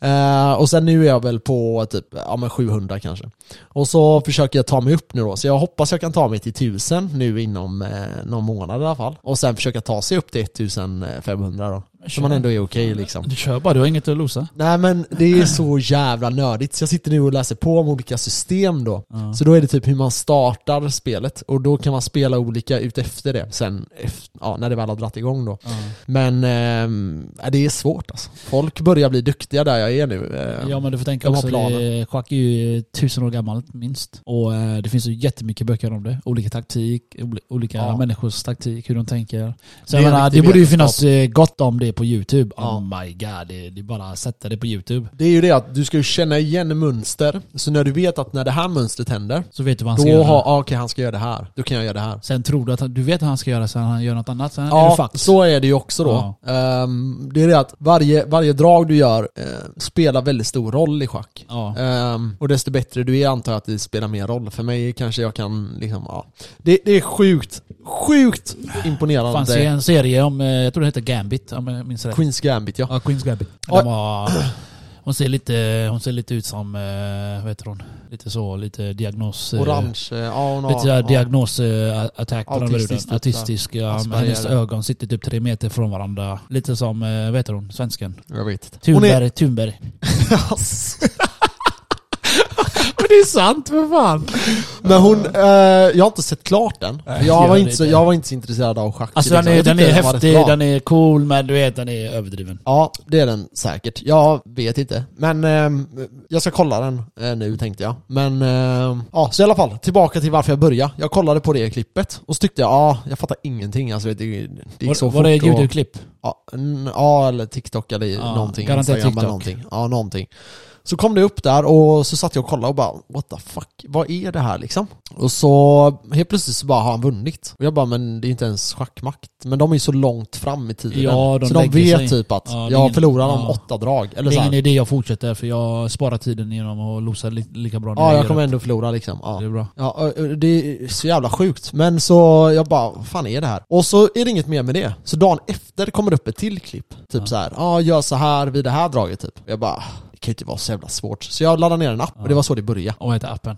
Speaker 1: Eh, och sen nu är jag väl på typ, ja men 700 kanske. Och så försöker jag ta mig upp nu då, så jag hoppas jag kan ta mig till 1000 nu inom eh, någon månad i alla fall. Och sen försöka ta sig upp till 1500 då. Så man ändå är okej liksom.
Speaker 2: Du kör bara, du har inget att losa.
Speaker 1: Nej men det är så jävla nördigt, så jag sitter nu och läser på om olika system då. Så då är det typ hur man startar spelet, och då kan man spela olika ut efter det, sen eft- ja, när det väl har dragit igång då. Men ehm, ja, det är svårt alltså. Folk börjar bli duktiga där jag är nu. eh.
Speaker 2: Ja men du får tänka
Speaker 1: de har
Speaker 2: också,
Speaker 1: planer.
Speaker 2: det, schack är ju eh, tusen år gammalt minst. Och eh, det finns ju jättemycket böcker om det. Olika taktik, oli- olika
Speaker 1: Ja.
Speaker 2: människors taktik, hur de tänker. Så
Speaker 1: Det är
Speaker 2: jag menar,
Speaker 1: riktig
Speaker 2: det borde ju
Speaker 1: vetenskap.
Speaker 2: finnas eh, gott om det det på YouTube.
Speaker 1: Ja.
Speaker 2: Oh my god, det, det är bara att sätta det på YouTube.
Speaker 1: Det är ju det att du ska ju känna igen mönster. Så när du vet att när det här mönstret händer,
Speaker 2: Så vet du vad han ska
Speaker 1: då
Speaker 2: göra.
Speaker 1: har, ah, okej han ska göra det här. Då kan jag göra det här.
Speaker 2: Sen tror du att han, du vet vad han ska göra, sen han gör något annat. Sen är du
Speaker 1: Ja,
Speaker 2: fucked.
Speaker 1: så är det ju också då. Ehm, det är det att varje, varje drag du gör eh, spelar väldigt stor roll i schack.
Speaker 2: Ja.
Speaker 1: Ehm, och desto bättre du är antar jag att det spelar mer roll. För mig kanske jag kan liksom, ja. Det, det är sjukt, sjukt imponerande.
Speaker 2: Fanns ju en serie om, eh, jag tror det hette Gambit om jag minns rätt.
Speaker 1: Queens Gambit ja.
Speaker 2: Ja, Queens Gambit.
Speaker 1: Oj.
Speaker 2: De var, hon, ser lite, hon ser lite ut som, eh, vad heter hon? Lite så, lite diagnos... eh,
Speaker 1: Orange, eh, ja hon har-
Speaker 2: Lite såhär
Speaker 1: ja.
Speaker 2: diagnosattack eh, på den
Speaker 1: Autistisk
Speaker 2: bruden.
Speaker 1: typ,
Speaker 2: Autistisk. Ja, men
Speaker 1: Asperger.
Speaker 2: hennes ögon sitter typ tre meter från varandra. Lite som, eh, vad heter hon, svensken?
Speaker 1: Jag vet inte. Hon är-
Speaker 2: Thunberg. Thunberg. Men det är sant för fan!
Speaker 1: Men hon, eh, jag har inte sett klart den.
Speaker 2: Nej,
Speaker 1: jag,
Speaker 2: gör
Speaker 1: var
Speaker 2: det
Speaker 1: inte så,
Speaker 2: inte.
Speaker 1: jag var inte så intresserad av schack.
Speaker 2: Alltså den
Speaker 1: liksom.
Speaker 2: är,
Speaker 1: Jag
Speaker 2: den är
Speaker 1: tyckte var rätt
Speaker 2: häftig,
Speaker 1: bra.
Speaker 2: den är cool, men du vet den är överdriven.
Speaker 1: Ja, det är den säkert. Jag vet inte. Men ehm, jag ska kolla den eh, nu tänkte jag. Men ehm, ja, så i alla fall. Tillbaka till varför jag började. Jag kollade på det klippet och så tyckte jag, ja, jag fattar ingenting. Alltså, det, det gick så
Speaker 2: Var,
Speaker 1: fort.
Speaker 2: var det ett
Speaker 1: och-
Speaker 2: YouTube-klipp?
Speaker 1: Ja, n- ja, eller TikTok eller
Speaker 2: Ja,
Speaker 1: någonting.
Speaker 2: garanterat
Speaker 1: Instagram
Speaker 2: TikTok.
Speaker 1: Eller någonting. Ja, någonting. Så kom det upp där och så satt jag och kollade och bara what the fuck, vad är det här liksom? Och så helt plötsligt så bara har han vunnit. Och jag bara men det är inte ens schackmakt. Men de är ju så långt fram i tiden.
Speaker 2: Ja, de
Speaker 1: så de
Speaker 2: lägger
Speaker 1: vet
Speaker 2: sig.
Speaker 1: typ att
Speaker 2: Ja, det är
Speaker 1: jag
Speaker 2: ingen-
Speaker 1: förlorar om
Speaker 2: ja.
Speaker 1: åtta drag. Eller
Speaker 2: Det
Speaker 1: så
Speaker 2: är ingen
Speaker 1: här.
Speaker 2: idé jag fortsätter för jag sparar tiden genom att losa li, lika bra när
Speaker 1: Ja,
Speaker 2: gör
Speaker 1: jag kommer
Speaker 2: det.
Speaker 1: ändå förlora liksom. Ja.
Speaker 2: Det är bra.
Speaker 1: Ja, ö- ö- det är så jävla sjukt. Men så jag bara, vad fan är det här? Och så är det inget mer med det. Så dagen efter kommer det upp ett till klipp. Typ så här, ja gör så här vid det här draget typ. Jag bara, det kan ju inte vara så jävla svårt. Så jag laddade ner en app och det var så det började.
Speaker 2: Och vad heter appen?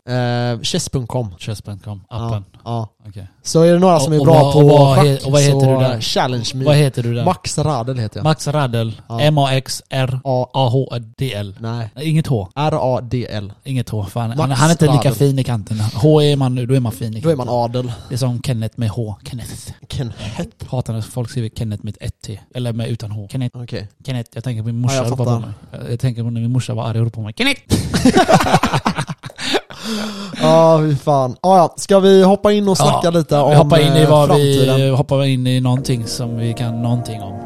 Speaker 1: Eh, Chess.com.
Speaker 2: Chess.com,
Speaker 1: Ja,
Speaker 2: appen.
Speaker 1: ja.
Speaker 2: Okej.
Speaker 1: Så är det några som är
Speaker 2: Och- och
Speaker 1: bra
Speaker 2: vad-
Speaker 1: på
Speaker 2: och vad
Speaker 1: schack,
Speaker 2: he- och vad heter
Speaker 1: så
Speaker 2: du där?
Speaker 1: eh, challenge me.
Speaker 2: Vad heter du där?
Speaker 1: Max Radel heter jag.
Speaker 2: Max Radel.
Speaker 1: Ja. Ja.
Speaker 2: M-A-X-R-A-H-D-L.
Speaker 1: Nej.
Speaker 2: Nej, Inget H.
Speaker 1: R-A-D-L.
Speaker 2: Inget H. Fan. Han,
Speaker 1: Max
Speaker 2: han är inte lika
Speaker 1: Radel.
Speaker 2: fin i kanterna. H är man nu, då är man fin i
Speaker 1: Då är man
Speaker 2: kanterna.
Speaker 1: adel.
Speaker 2: Det är som Kenneth med H. Kenneth.
Speaker 1: Ken
Speaker 2: Hatar när folk skriver Kenneth med ett T. Eller med utan H. Kenneth.
Speaker 1: Okej.
Speaker 2: Kenneth. Jag tänker på min morsa.
Speaker 1: Ja, jag
Speaker 2: jag, på
Speaker 1: fattar.
Speaker 2: mig. jag jag tänker på när min morsa var arg och ropade på mig. Kenneth!
Speaker 1: Ja, fy fan. Ja, ja. Ska vi hoppa in och snacka
Speaker 2: Ja.
Speaker 1: lite om
Speaker 2: Vi hoppar in i
Speaker 1: eh,
Speaker 2: vad
Speaker 1: framtiden?
Speaker 2: vi... Hoppar in i någonting som vi kan någonting om.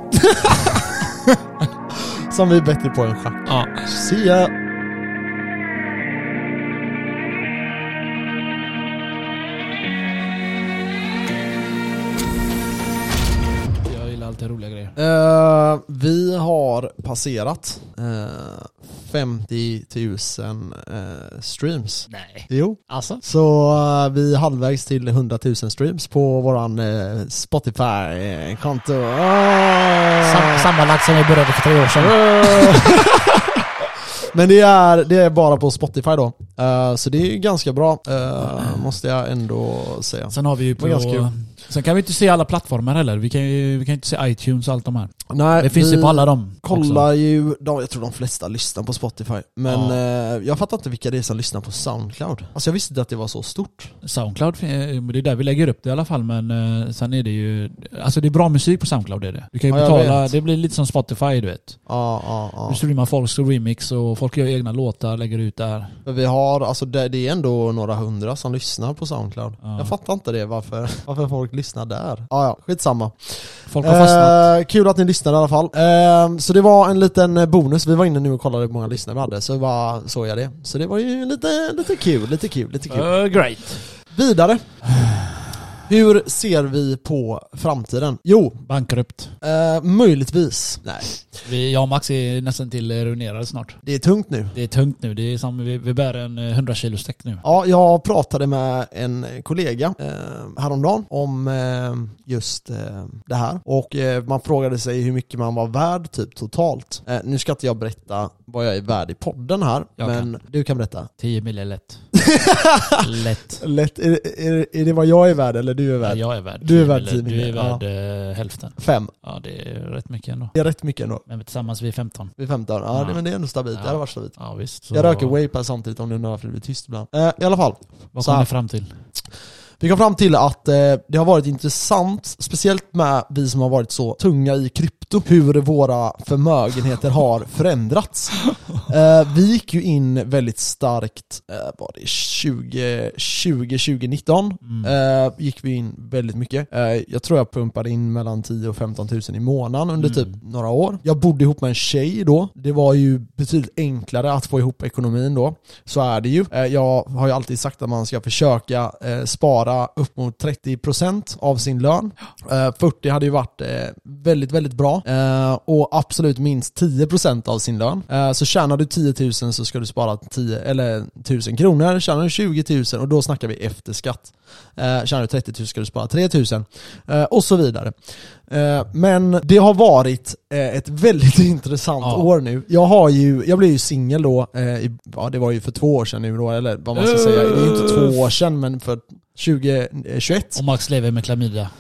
Speaker 1: Som vi är bättre på än schack.
Speaker 2: Ja.
Speaker 1: See ya!
Speaker 2: Jag gillar alltid roliga grejer.
Speaker 1: Eh, vi har passerat eh, 50 000 eh, streams.
Speaker 2: Nej.
Speaker 1: Jo.
Speaker 2: Alltså?
Speaker 1: Så eh, vi är halvvägs till 100 000 streams på våran eh, Spotify-konto.
Speaker 2: Sam, sammanlagt som vi började för tre år sedan.
Speaker 1: Men det är, det är bara på Spotify då. Eh, så det är ju ganska bra, eh, måste jag ändå säga.
Speaker 2: Sen har vi ju
Speaker 1: Det var ganska
Speaker 2: på... Sen kan vi inte se alla plattformar heller. Vi kan ju vi kan inte se iTunes och allt de här.
Speaker 1: Nej,
Speaker 2: Det finns
Speaker 1: Äh, vi-
Speaker 2: ju på alla dem.
Speaker 1: kollar
Speaker 2: också.
Speaker 1: ju, de, jag tror de flesta lyssnar på Spotify, men eh, jag fattar inte vilka det är som lyssnar på Soundcloud. Alltså jag visste inte att det var så stort.
Speaker 2: Soundcloud, eh, men det är där vi lägger upp det i alla fall. Men eh, sen är det ju... Alltså det är bra musik på Soundcloud är det. Du kan ju
Speaker 1: Ja, jag
Speaker 2: betala...
Speaker 1: vet.
Speaker 2: Det blir lite som Spotify du vet.
Speaker 1: Ja, ja,
Speaker 2: Du
Speaker 1: ja.
Speaker 2: streamar folks remix och folk gör egna låtar, lägger ut där.
Speaker 1: För Vi har, alltså det, det är ändå några hundra som lyssnar på Soundcloud.
Speaker 2: Ja.
Speaker 1: Jag fattar inte det, varför, varför folk lyssnar där. Ja, ja, skitsamma.
Speaker 2: Folk har fastnat.
Speaker 1: Eh, kul att ni lyssnade i alla fall. Eh, så det var en liten eh, bonus, vi var inne nu och kollade hur många lyssnare vi hade, så bara såg jag det. Så det var ju lite, lite kul, lite kul, lite kul.
Speaker 2: Eh, great.
Speaker 1: Vidare. Hur ser vi på framtiden? Jo,
Speaker 2: Bankrupt.
Speaker 1: eh, möjligtvis. Nej,
Speaker 2: Vi, jag och Max är nästan till eh, ruinerade snart.
Speaker 1: det är tungt nu.
Speaker 2: Det är tungt nu. Det är som, vi, vi bär en eh, 100 kilos säck nu.
Speaker 1: Ja, jag pratade med en kollega eh, häromdagen om eh, just eh, det här. Och eh, man frågade sig hur mycket man var värd typ totalt. Eh, nu ska inte jag berätta vad jag är värd i podden här,
Speaker 2: Jag
Speaker 1: men du kan berätta.
Speaker 2: 10 mil är lätt. lätt.
Speaker 1: Lätt, är, är, är det vad jag är värd eller du är
Speaker 2: Ja,
Speaker 1: värd?
Speaker 2: jag är värd
Speaker 1: Du är
Speaker 2: 10
Speaker 1: värd
Speaker 2: mil.
Speaker 1: 10
Speaker 2: Du är
Speaker 1: mil, ja.
Speaker 2: värd eh, hälften.
Speaker 1: Fem.
Speaker 2: Ja, det är rätt mycket ändå.
Speaker 1: Det är rätt mycket ändå.
Speaker 2: Men tillsammans vi är 15.
Speaker 1: Vid 15. Ja,
Speaker 2: Ja.
Speaker 1: Det, men det är ändå stabilt. Det
Speaker 2: Ja.
Speaker 1: hade varit stabilt.
Speaker 2: Ja, visst. Så
Speaker 1: Jag röker vape här samtidigt om ni undrar varför det blir tyst ibland. Eh, I alla fall,
Speaker 2: Vad
Speaker 1: så här.
Speaker 2: kom ni fram till?
Speaker 1: Vi kom fram till att eh, det har varit intressant, speciellt med vi som har varit så tunga i krypto, hur våra förmögenheter har förändrats. Eh, vi gick ju in väldigt starkt, eh, var det 20, 20 2019?
Speaker 2: Mm.
Speaker 1: Eh, gick vi in väldigt mycket. Eh, jag tror jag pumpade in mellan 10 och 15 000 i månaden under typ några år. Jag bodde ihop med en tjej då. Det var ju betydligt enklare att få ihop ekonomin då. Så är det ju. Eh, jag har ju alltid sagt att man ska försöka eh, spara upp mot 30% av sin lön. Eh, 40 hade ju varit eh, väldigt, väldigt bra. Eh, och absolut minst 10% av sin lön. Eh, så tjänar du 10 000 så ska du spara 10, eller 1000 kronor. Tjänar du 20 000 och då snackar vi efter skatt. Eh, tjänar du 30 000 ska du spara 3 000. Eh, och så vidare. Eh, men det har varit eh, ett väldigt intressant
Speaker 2: Ja.
Speaker 1: år nu. Jag har ju, jag blev ju singel då, eh, i, ja det var ju för två år sedan nu då, eller vad man ska säga. Det är ju inte två år sedan men för eh, 2021.
Speaker 2: Och Max lever med klamydia.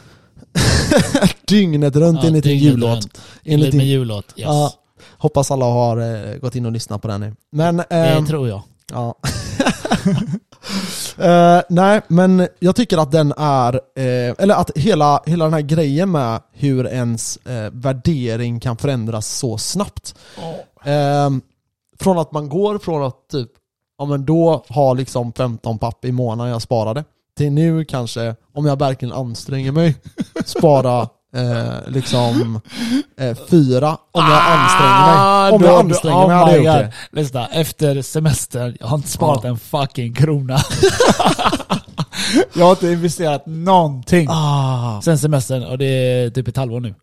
Speaker 1: Dygnet runt
Speaker 2: Ja,
Speaker 1: enligt din
Speaker 2: dygnet
Speaker 1: jullåt.
Speaker 2: runt.
Speaker 1: Enligt
Speaker 2: Enligt min
Speaker 1: din,
Speaker 2: jullåt, yes.
Speaker 1: Ja, hoppas alla har eh, gått in och lyssnat på den nu. Men,
Speaker 2: det
Speaker 1: ehm,
Speaker 2: tror jag.
Speaker 1: Ja. Eh, nej, men jag tycker att den är, eh, eller att hela, hela den här grejen med hur ens eh, värdering kan förändras så snabbt. Eh, från att man går från att typ, ja men då har liksom 15 papp i månaden jag sparade, till nu kanske, om jag verkligen anstränger mig, spara eh, liksom eh, fyra om jag anstränger
Speaker 2: Ah,
Speaker 1: mig. Om jag
Speaker 2: oh
Speaker 1: anstränger mig hade jag gjort det.
Speaker 2: Lyssna, efter semestern, jag har inte sparat
Speaker 1: Ja.
Speaker 2: en fucking krona. jag har inte investerat någonting.
Speaker 1: Ah.
Speaker 2: Sen semestern, och det är typ ett halvår nu.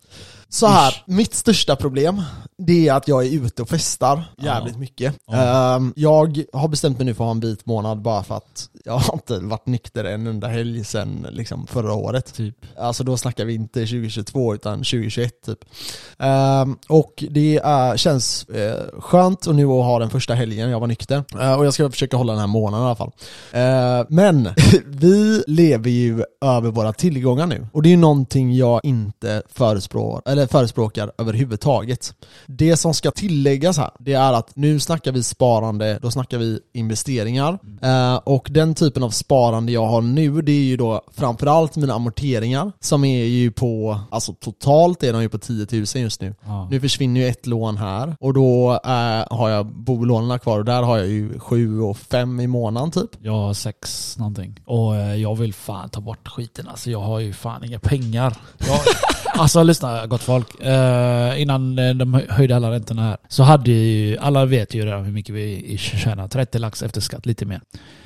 Speaker 1: Så här, mitt största problem, det är att jag är ute och festar jävligt mycket. Ehm, jag har bestämt mig nu för att ha en bit månad bara för att jag har inte varit nykter en enda helg sedan liksom, förra året.
Speaker 2: Typ.
Speaker 1: Alltså då snackar vi inte 2022 utan 2021 typ. Ehm, och det är, känns eh, skönt och nu att ha den första helgen jag var nykter. Eh, och jag ska försöka hålla den här månaden i alla fall. Eh, men vi lever ju över våra tillgångar nu. Och det är ju någonting jag inte förespråkar, eller förespråkar överhuvudtaget. Det som ska tilläggas här, det är att nu snackar vi sparande, då snackar vi investeringar. Eh, och den typen av sparande jag har nu, det är ju då framförallt mina amorteringar som är ju på, alltså totalt är de ju på 10 000 just nu.
Speaker 2: Ja.
Speaker 1: Nu försvinner ju ett lån här och då eh, har jag bolånen kvar och där har jag ju 7 och 5 i månaden typ.
Speaker 2: Jag har sex någonting. Och eh, jag vill fan ta bort skiten alltså. Jag har ju fan inga pengar. Jag, alltså lyssna gott folk. Eh, innan eh, de hö- höjde alla räntorna här så hade ju, alla vet ju redan hur mycket vi tjänar. 30 lax efter skatt, lite mer.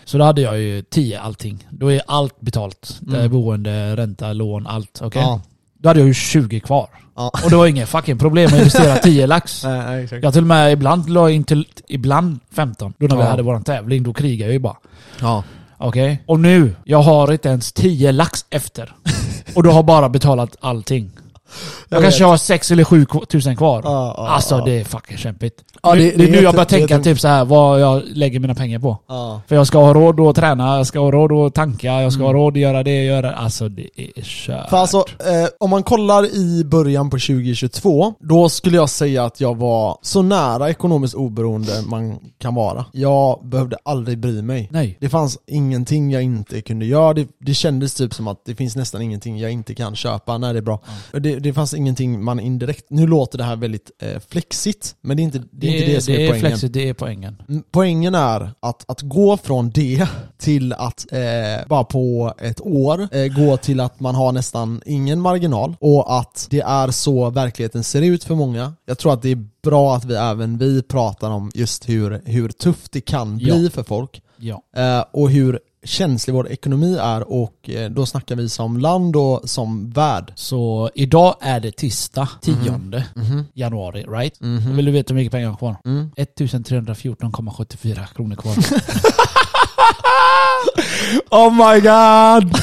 Speaker 2: Så då hade jag ju 10 allting. Då är allt betalt. Det är
Speaker 1: Mm.
Speaker 2: boende, ränta, lån, allt. Okej?
Speaker 1: Ja.
Speaker 2: Då hade jag ju 20 kvar.
Speaker 1: Ja.
Speaker 2: Och det var inga fucking problem att investera 10 lax. Jag till och med ibland la in till, ibland 15. Då när vi
Speaker 1: Ja.
Speaker 2: hade våran tävling, då krigade jag ju bara.
Speaker 1: Ja.
Speaker 2: Okej? Och nu, jag har inte ens 10 lax efter. Och du har bara betalat allting. Jag,
Speaker 1: Jag
Speaker 2: kanske
Speaker 1: vet.
Speaker 2: har 6 eller 7 k- tusen kvar.
Speaker 1: Ja, ja,
Speaker 2: alltså
Speaker 1: ja.
Speaker 2: det är fucking kämpigt.
Speaker 1: Ja,
Speaker 2: Nu-
Speaker 1: det-
Speaker 2: det,
Speaker 1: det
Speaker 2: är
Speaker 1: är
Speaker 2: nu jag
Speaker 1: jätte-
Speaker 2: börjar
Speaker 1: det är
Speaker 2: tänka
Speaker 1: tungt.
Speaker 2: typ så här vad jag lägger mina pengar på.
Speaker 1: Ja.
Speaker 2: För jag ska ha råd då att träna, jag ska ha råd att tanka, jag ska ha råd att göra det, göra Alltså det är kört.
Speaker 1: Mm. För alltså, eh, om man kollar i början på 2022, då skulle jag säga att jag var så nära ekonomiskt oberoende man kan vara. Jag behövde aldrig bry mig.
Speaker 2: Nej.
Speaker 1: Det fanns ingenting jag inte kunde göra. Det, det kändes typ som att det finns nästan ingenting jag inte kan köpa när det är bra. Det, det fanns ingenting man indirekt... Nu låter det här väldigt eh, flexigt, men det är inte det, är inte det som är,
Speaker 2: det är
Speaker 1: poängen.
Speaker 2: flexigt, det är poängen.
Speaker 1: Mm, Poängen är att, att gå från det till att eh, bara på ett år eh, gå till att man har nästan ingen marginal och att det är så verkligheten ser ut för många. Jag tror att det är bra att vi även vi pratar om just hur, hur tufft det kan bli för folk
Speaker 2: Ja.
Speaker 1: eh, och hur känslig vår ekonomi är och eh, då snackar vi som land och som värld.
Speaker 2: Så idag är det tisdag, 10 Mhm. januari, right? Vill du veta hur mycket pengar jag har kvar? 1314,74 kronor kvar. oh my god!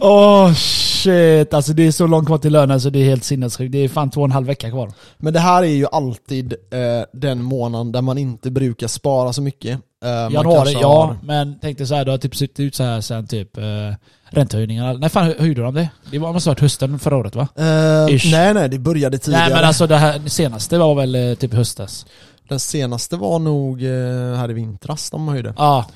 Speaker 2: Oh shit, alltså det är så långt kvar till lönen så det är helt sinnessjukt. Det är fan två och en halv vecka kvar.
Speaker 1: Men det här är ju alltid eh, den månaden där man inte brukar spara så mycket. Eh, man
Speaker 2: Januari,
Speaker 1: kanske
Speaker 2: ja.
Speaker 1: har-
Speaker 2: Men tänkte så här, det har typ sett ut så här sen typ eh, räntehöjningarna. Nej fan, hö- höjde de det? Det var- måste ha varit hösten förra året va?
Speaker 1: Eh,
Speaker 2: Ish. alltså-
Speaker 1: nej nej, det började tidigare.
Speaker 2: Nej men alltså det här senaste var väl eh, typ i höstas.
Speaker 1: Den senaste var nog eh, här i vintras de höjde.
Speaker 2: Ja,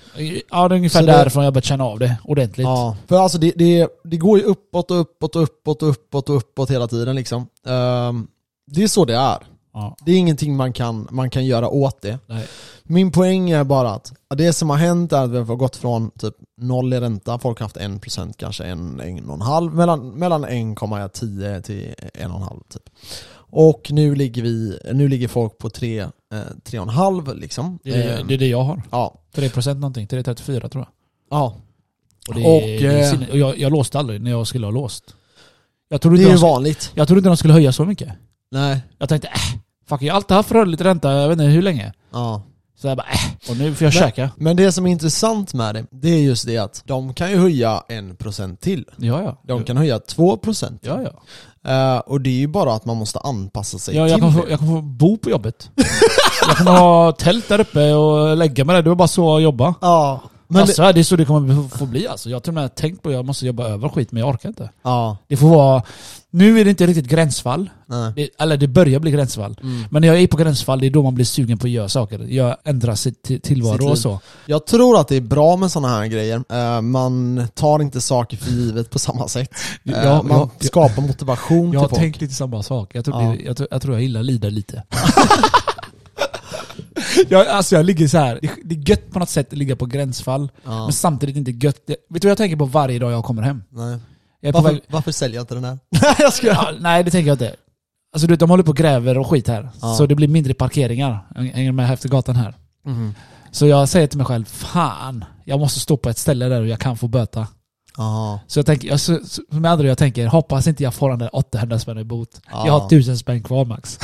Speaker 2: ja det är ungefär
Speaker 1: Så det-
Speaker 2: därifrån jag började känna av det ordentligt.
Speaker 1: Ja, för alltså det, det, det går ju uppåt och uppåt och uppåt och uppåt och uppåt hela tiden liksom. Ehm, det är så det är.
Speaker 2: Ja.
Speaker 1: Det är ingenting man kan, man kan göra åt det.
Speaker 2: Nej.
Speaker 1: Min poäng är bara att det som har hänt är att vi har gått från typ noll i ränta, folk har haft 1% kanske en, en och en halv, mellan, mellan 1,10 till 1,5 typ. Och nu ligger, vi, nu ligger folk på 3, eh, 3,5 liksom.
Speaker 2: Det, är,
Speaker 1: Ehm,
Speaker 2: Eh, det är det jag har.
Speaker 1: ja.
Speaker 2: 3% någonting, 3,34 tror jag.
Speaker 1: ja.
Speaker 2: Och, det,
Speaker 1: Och,
Speaker 2: det är
Speaker 1: eh,
Speaker 2: sinne- och jag, jag låste aldrig när jag skulle ha låst. Jag trodde,
Speaker 1: Det är
Speaker 2: inte
Speaker 1: ju
Speaker 2: de, sk-
Speaker 1: vanligt.
Speaker 2: jag trodde inte de skulle höja så mycket.
Speaker 1: Nej.
Speaker 2: Jag tänkte äh, fuck jag har alltid haft rörlig ränta, jag vet inte hur länge.
Speaker 1: Ja.
Speaker 2: Så jag bara äh, och nu får jag
Speaker 1: Men-
Speaker 2: käka.
Speaker 1: Men det som är intressant med det, det är just det att de kan ju höja 1% till.
Speaker 2: Ja ja.
Speaker 1: De kan höja 2% till.
Speaker 2: Ja ja.
Speaker 1: Eh, och det är ju bara att man måste anpassa sig
Speaker 2: Jag,
Speaker 1: till
Speaker 2: jag, kommer
Speaker 1: det.
Speaker 2: få, jag kommer få bo på jobbet. jag kommer ha tält där uppe och lägga mig där. Det var bara så jag jobba.
Speaker 1: Ja, men
Speaker 2: alltså, det... är så det kommer få bli alltså. Jag har till och med tänkt på att jag måste jobba över skit, men jag orkar inte.
Speaker 1: det, ja,
Speaker 2: Det får vara... Nu är det inte riktigt gränsfall.
Speaker 1: nej.
Speaker 2: Det, eller det börjar bli gränsfall.
Speaker 1: Mm.
Speaker 2: Men när jag är på gränsfall, det är då man blir sugen på att göra saker. Jag ändrar sitt till-
Speaker 1: Sitt
Speaker 2: tillvaro
Speaker 1: liv.
Speaker 2: och så.
Speaker 1: Jag tror att det är bra med sådana här grejer. Eh, man tar inte saker för givet på samma sätt. Eh,
Speaker 2: Ja,
Speaker 1: man
Speaker 2: ja.
Speaker 1: skapar motivation
Speaker 2: Jag
Speaker 1: till
Speaker 2: har
Speaker 1: folk.
Speaker 2: tänkt lite samma sak. Jag tror,
Speaker 1: Ja.
Speaker 2: det, jag, tror- jag, tror jag gillar lider lite. jag, alltså jag ligger så här. Det, det är gött på något sätt att ligga på gränsfall.
Speaker 1: Ja,
Speaker 2: Men samtidigt inte gött. Jag, vet du vad jag tänker på varje dag jag kommer hem?
Speaker 1: nej.
Speaker 2: Jag är på
Speaker 1: Varför,
Speaker 2: väg-
Speaker 1: varför säljer jag inte den här? nej, jag skojar.
Speaker 2: ja, nej, det tänker jag inte. Alltså du vet, de håller på och gräver och skit här.
Speaker 1: Ja.
Speaker 2: Så det blir mindre parkeringar. Hänger med efter gatan här.
Speaker 1: Mm-hmm.
Speaker 2: Så jag säger till mig själv, fan, jag måste stå på ett ställe där och jag kan få böta.
Speaker 1: Jaha.
Speaker 2: Så jag tänker, jag, så, så- med andra ord, jag tänker, hoppas inte jag får den där 800 spänn i bot.
Speaker 1: Ja.
Speaker 2: Jag har 1000 spänn kvar max.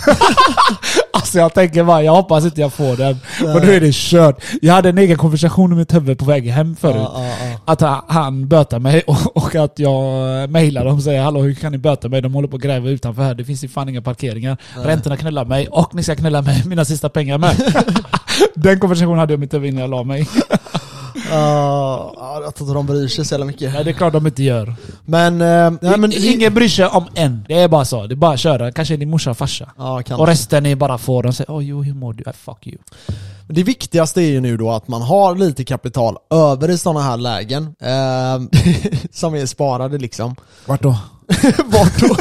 Speaker 2: alltså jag tänker bara, jag hoppas inte jag får den. För nu är det kört. Jag hade en egen konversation med Tubbe på vägen hem förut.
Speaker 1: Ja, ja, ja.
Speaker 2: Att han, han bötar mig och, och att jag eh, mejlar dem och säger Hallå hur kan ni böta mig? De håller på att gräva utanför här, det finns ju fan inga parkeringar. Räntorna knullar mig och ni ska knulla mig, mina sista pengar med. Den konversationen hade jag med Tubbe innan jag la mig.
Speaker 1: Ja, ja, jag tror inte de bryr sig så jävla mycket.
Speaker 2: Nej det är klart de inte gör.
Speaker 1: Men, eh, nej, men
Speaker 2: Ingen bryr sig om en. Det är bara så, det är bara att köra. Kanske är din morsa och farsa.
Speaker 1: Ja, kan
Speaker 2: Och resten är bara får. De säger Åh jo hur mår du? Ah, fuck you.
Speaker 1: Men Det viktigaste är ju nu då att man har lite kapital över i sådana här lägen. ehm, som är sparade liksom.
Speaker 2: Vart då?
Speaker 1: Vart då?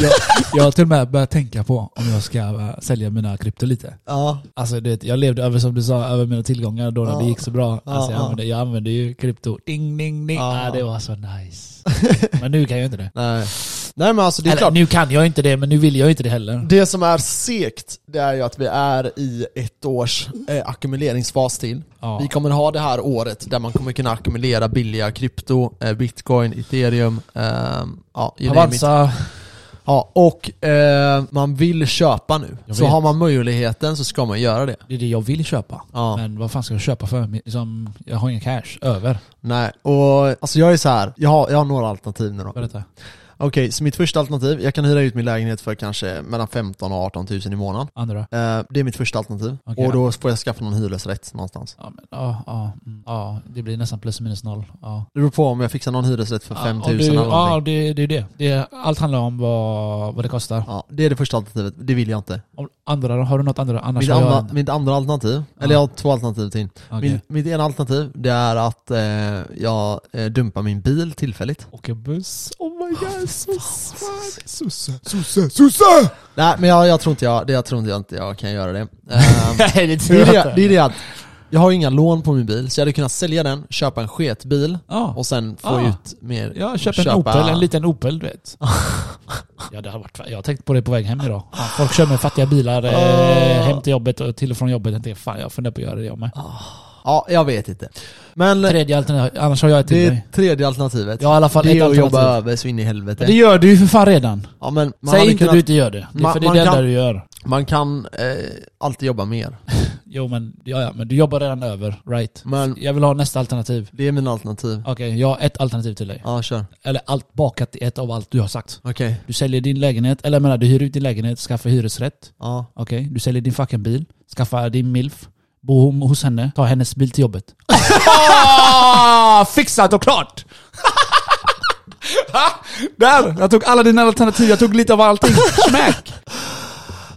Speaker 2: Jag, jag har till och med börjat tänka på om jag ska eh, sälja mina krypto lite.
Speaker 1: Ja,
Speaker 2: Alltså du vet, jag levde över som du sa, över mina tillgångar då när
Speaker 1: Ja.
Speaker 2: det gick så bra. Alltså,
Speaker 1: Ja,
Speaker 2: jag,
Speaker 1: ja.
Speaker 2: använde, jag använde ju krypto. Ding, ding, ding.
Speaker 1: Ja.
Speaker 2: Ah, det var så nice. men nu kan jag inte det.
Speaker 1: nej. Nej men alltså det är
Speaker 2: Eller,
Speaker 1: klart. Mm.
Speaker 2: nu kan jag inte det, men nu vill jag inte det heller.
Speaker 1: Det som är segt, det är ju att vi är i ett års eh, ackumuleringsfas till.
Speaker 2: Ja.
Speaker 1: Vi kommer ha det här året där man kommer kunna ackumulera billiga krypto, eh, bitcoin, ethereum, ehm, ja, you name it.
Speaker 2: Avanza.
Speaker 1: ja, och eh, man vill köpa nu.
Speaker 2: Jag
Speaker 1: Så
Speaker 2: vet.
Speaker 1: har man möjligheten så ska man göra det.
Speaker 2: Det är det jag vill köpa.
Speaker 1: Ja.
Speaker 2: Men vad fan ska jag köpa för? Liksom, jag har ingen cash över.
Speaker 1: Nej, och alltså jag är så här. jag har, jag har några alternativ nu då. Okej,
Speaker 2: Berätta.
Speaker 1: så mitt första alternativ, jag kan hyra ut min lägenhet för kanske mellan 15 och 18 000 i månaden.
Speaker 2: Andra.
Speaker 1: Eh, det är mitt första alternativ.
Speaker 2: Okej.
Speaker 1: Och då får jag skaffa någon hyresrätt någonstans.
Speaker 2: Ja, men, ja, ja, mm, ja, det blir nästan plus minus noll. Ja.
Speaker 1: Det beror på om jag fixar någon hyresrätt för
Speaker 2: Ah, Ja,
Speaker 1: 5 000
Speaker 2: och du-
Speaker 1: eller någonting.
Speaker 2: Ja, det, det är det. det. Allt handlar om vad, vad det kostar.
Speaker 1: Ja, det är det första alternativet, det vill jag inte.
Speaker 2: Om Andra, har du något andra? Annars
Speaker 1: Mitt
Speaker 2: har jag...
Speaker 1: andra, mitt andra alternativ, eller jag har två alternativ till.
Speaker 2: Okej.
Speaker 1: Min, mitt ena alternativ, det är att eh, jag eh, dumpar min bil tillfälligt.
Speaker 2: Åker buss. Oh my god, så svag. Sosse, sosse, sosse!
Speaker 1: Nej, men jag, jag, tror inte jag, det, jag tror inte jag, inte jag kan göra det. Ehm,
Speaker 2: Nej, det
Speaker 1: Det
Speaker 2: tror
Speaker 1: är
Speaker 2: jag
Speaker 1: det, det
Speaker 2: inte.
Speaker 1: är det att jag har ju inga lån på min bil, så jag hade kunnat sälja den, köpa en sketbil
Speaker 2: Ja,
Speaker 1: och sen få
Speaker 2: Ah.
Speaker 1: ut mer.
Speaker 2: jag köper en
Speaker 1: köpa-
Speaker 2: Opel, en liten Opel du vet. Ja, det har varit, jag har tänkt på det på väg hem idag. Fan, folk kör med fattiga bilar eh,
Speaker 1: Ah.
Speaker 2: hem till jobbet och till och från jobbet. Jag tänkte, fan jag funderar på att göra det jag med.
Speaker 1: Ja, jag vet inte. Men
Speaker 2: Tredje alternativet, annars har jag ett
Speaker 1: det
Speaker 2: till
Speaker 1: är
Speaker 2: dig.
Speaker 1: tredje alternativet.
Speaker 2: Jag har i alla fall
Speaker 1: det
Speaker 2: ett
Speaker 1: är att jobba
Speaker 2: alternativ.
Speaker 1: över så in i helvete.
Speaker 2: Det gör du ju för fan redan.
Speaker 1: ja, men man,
Speaker 2: Säg
Speaker 1: hade
Speaker 2: inte
Speaker 1: kunnat,
Speaker 2: du inte gör det. det är
Speaker 1: Man-
Speaker 2: för det är
Speaker 1: man
Speaker 2: det enda
Speaker 1: kan-
Speaker 2: du gör.
Speaker 1: man kan eh, alltid jobba mer.
Speaker 2: Jo men, ja, ja, men du jobbar redan över, right?
Speaker 1: Men
Speaker 2: Jag vill ha nästa alternativ.
Speaker 1: det är mina alternativ.
Speaker 2: Okej, jag har ett alternativ till dig.
Speaker 1: Ja, kör.
Speaker 2: Eller allt bakat i ett av allt du har sagt.
Speaker 1: Okej.
Speaker 2: Du säljer din lägenhet, eller jag menar du hyr ut din lägenhet, skaffar hyresrätt.
Speaker 1: Ja.
Speaker 2: Okej, du säljer din fucking bil, skaffar din milf, bo hom- hos henne, ta hennes bil till jobbet. Ah, Fixat och klart! Där! Jag tog alla dina alternativ, jag tog lite av allting. Smack!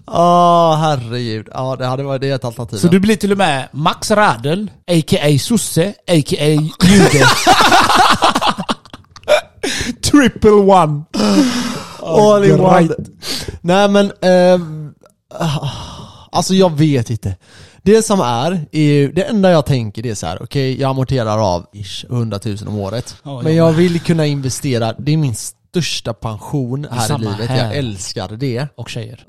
Speaker 1: Åh Ah, herregud. Ja det hade varit det är ett alternativ.
Speaker 2: Så du blir till och med Max Radel, a.k.a. sosse, a.k.a. jude. Triple one. Ah.
Speaker 1: All in
Speaker 2: Right.
Speaker 1: one. Nej men, ehm, ah, alltså jag vet inte. Det som är, är ju, det enda jag tänker det är så här, okej jag amorterar av ish 100 000 om året.
Speaker 2: Ja,
Speaker 1: men
Speaker 2: jag
Speaker 1: jag vill kunna investera, det är min största pension här i
Speaker 2: samma
Speaker 1: livet.
Speaker 2: här.
Speaker 1: Jag älskar det.
Speaker 2: Och tjejer.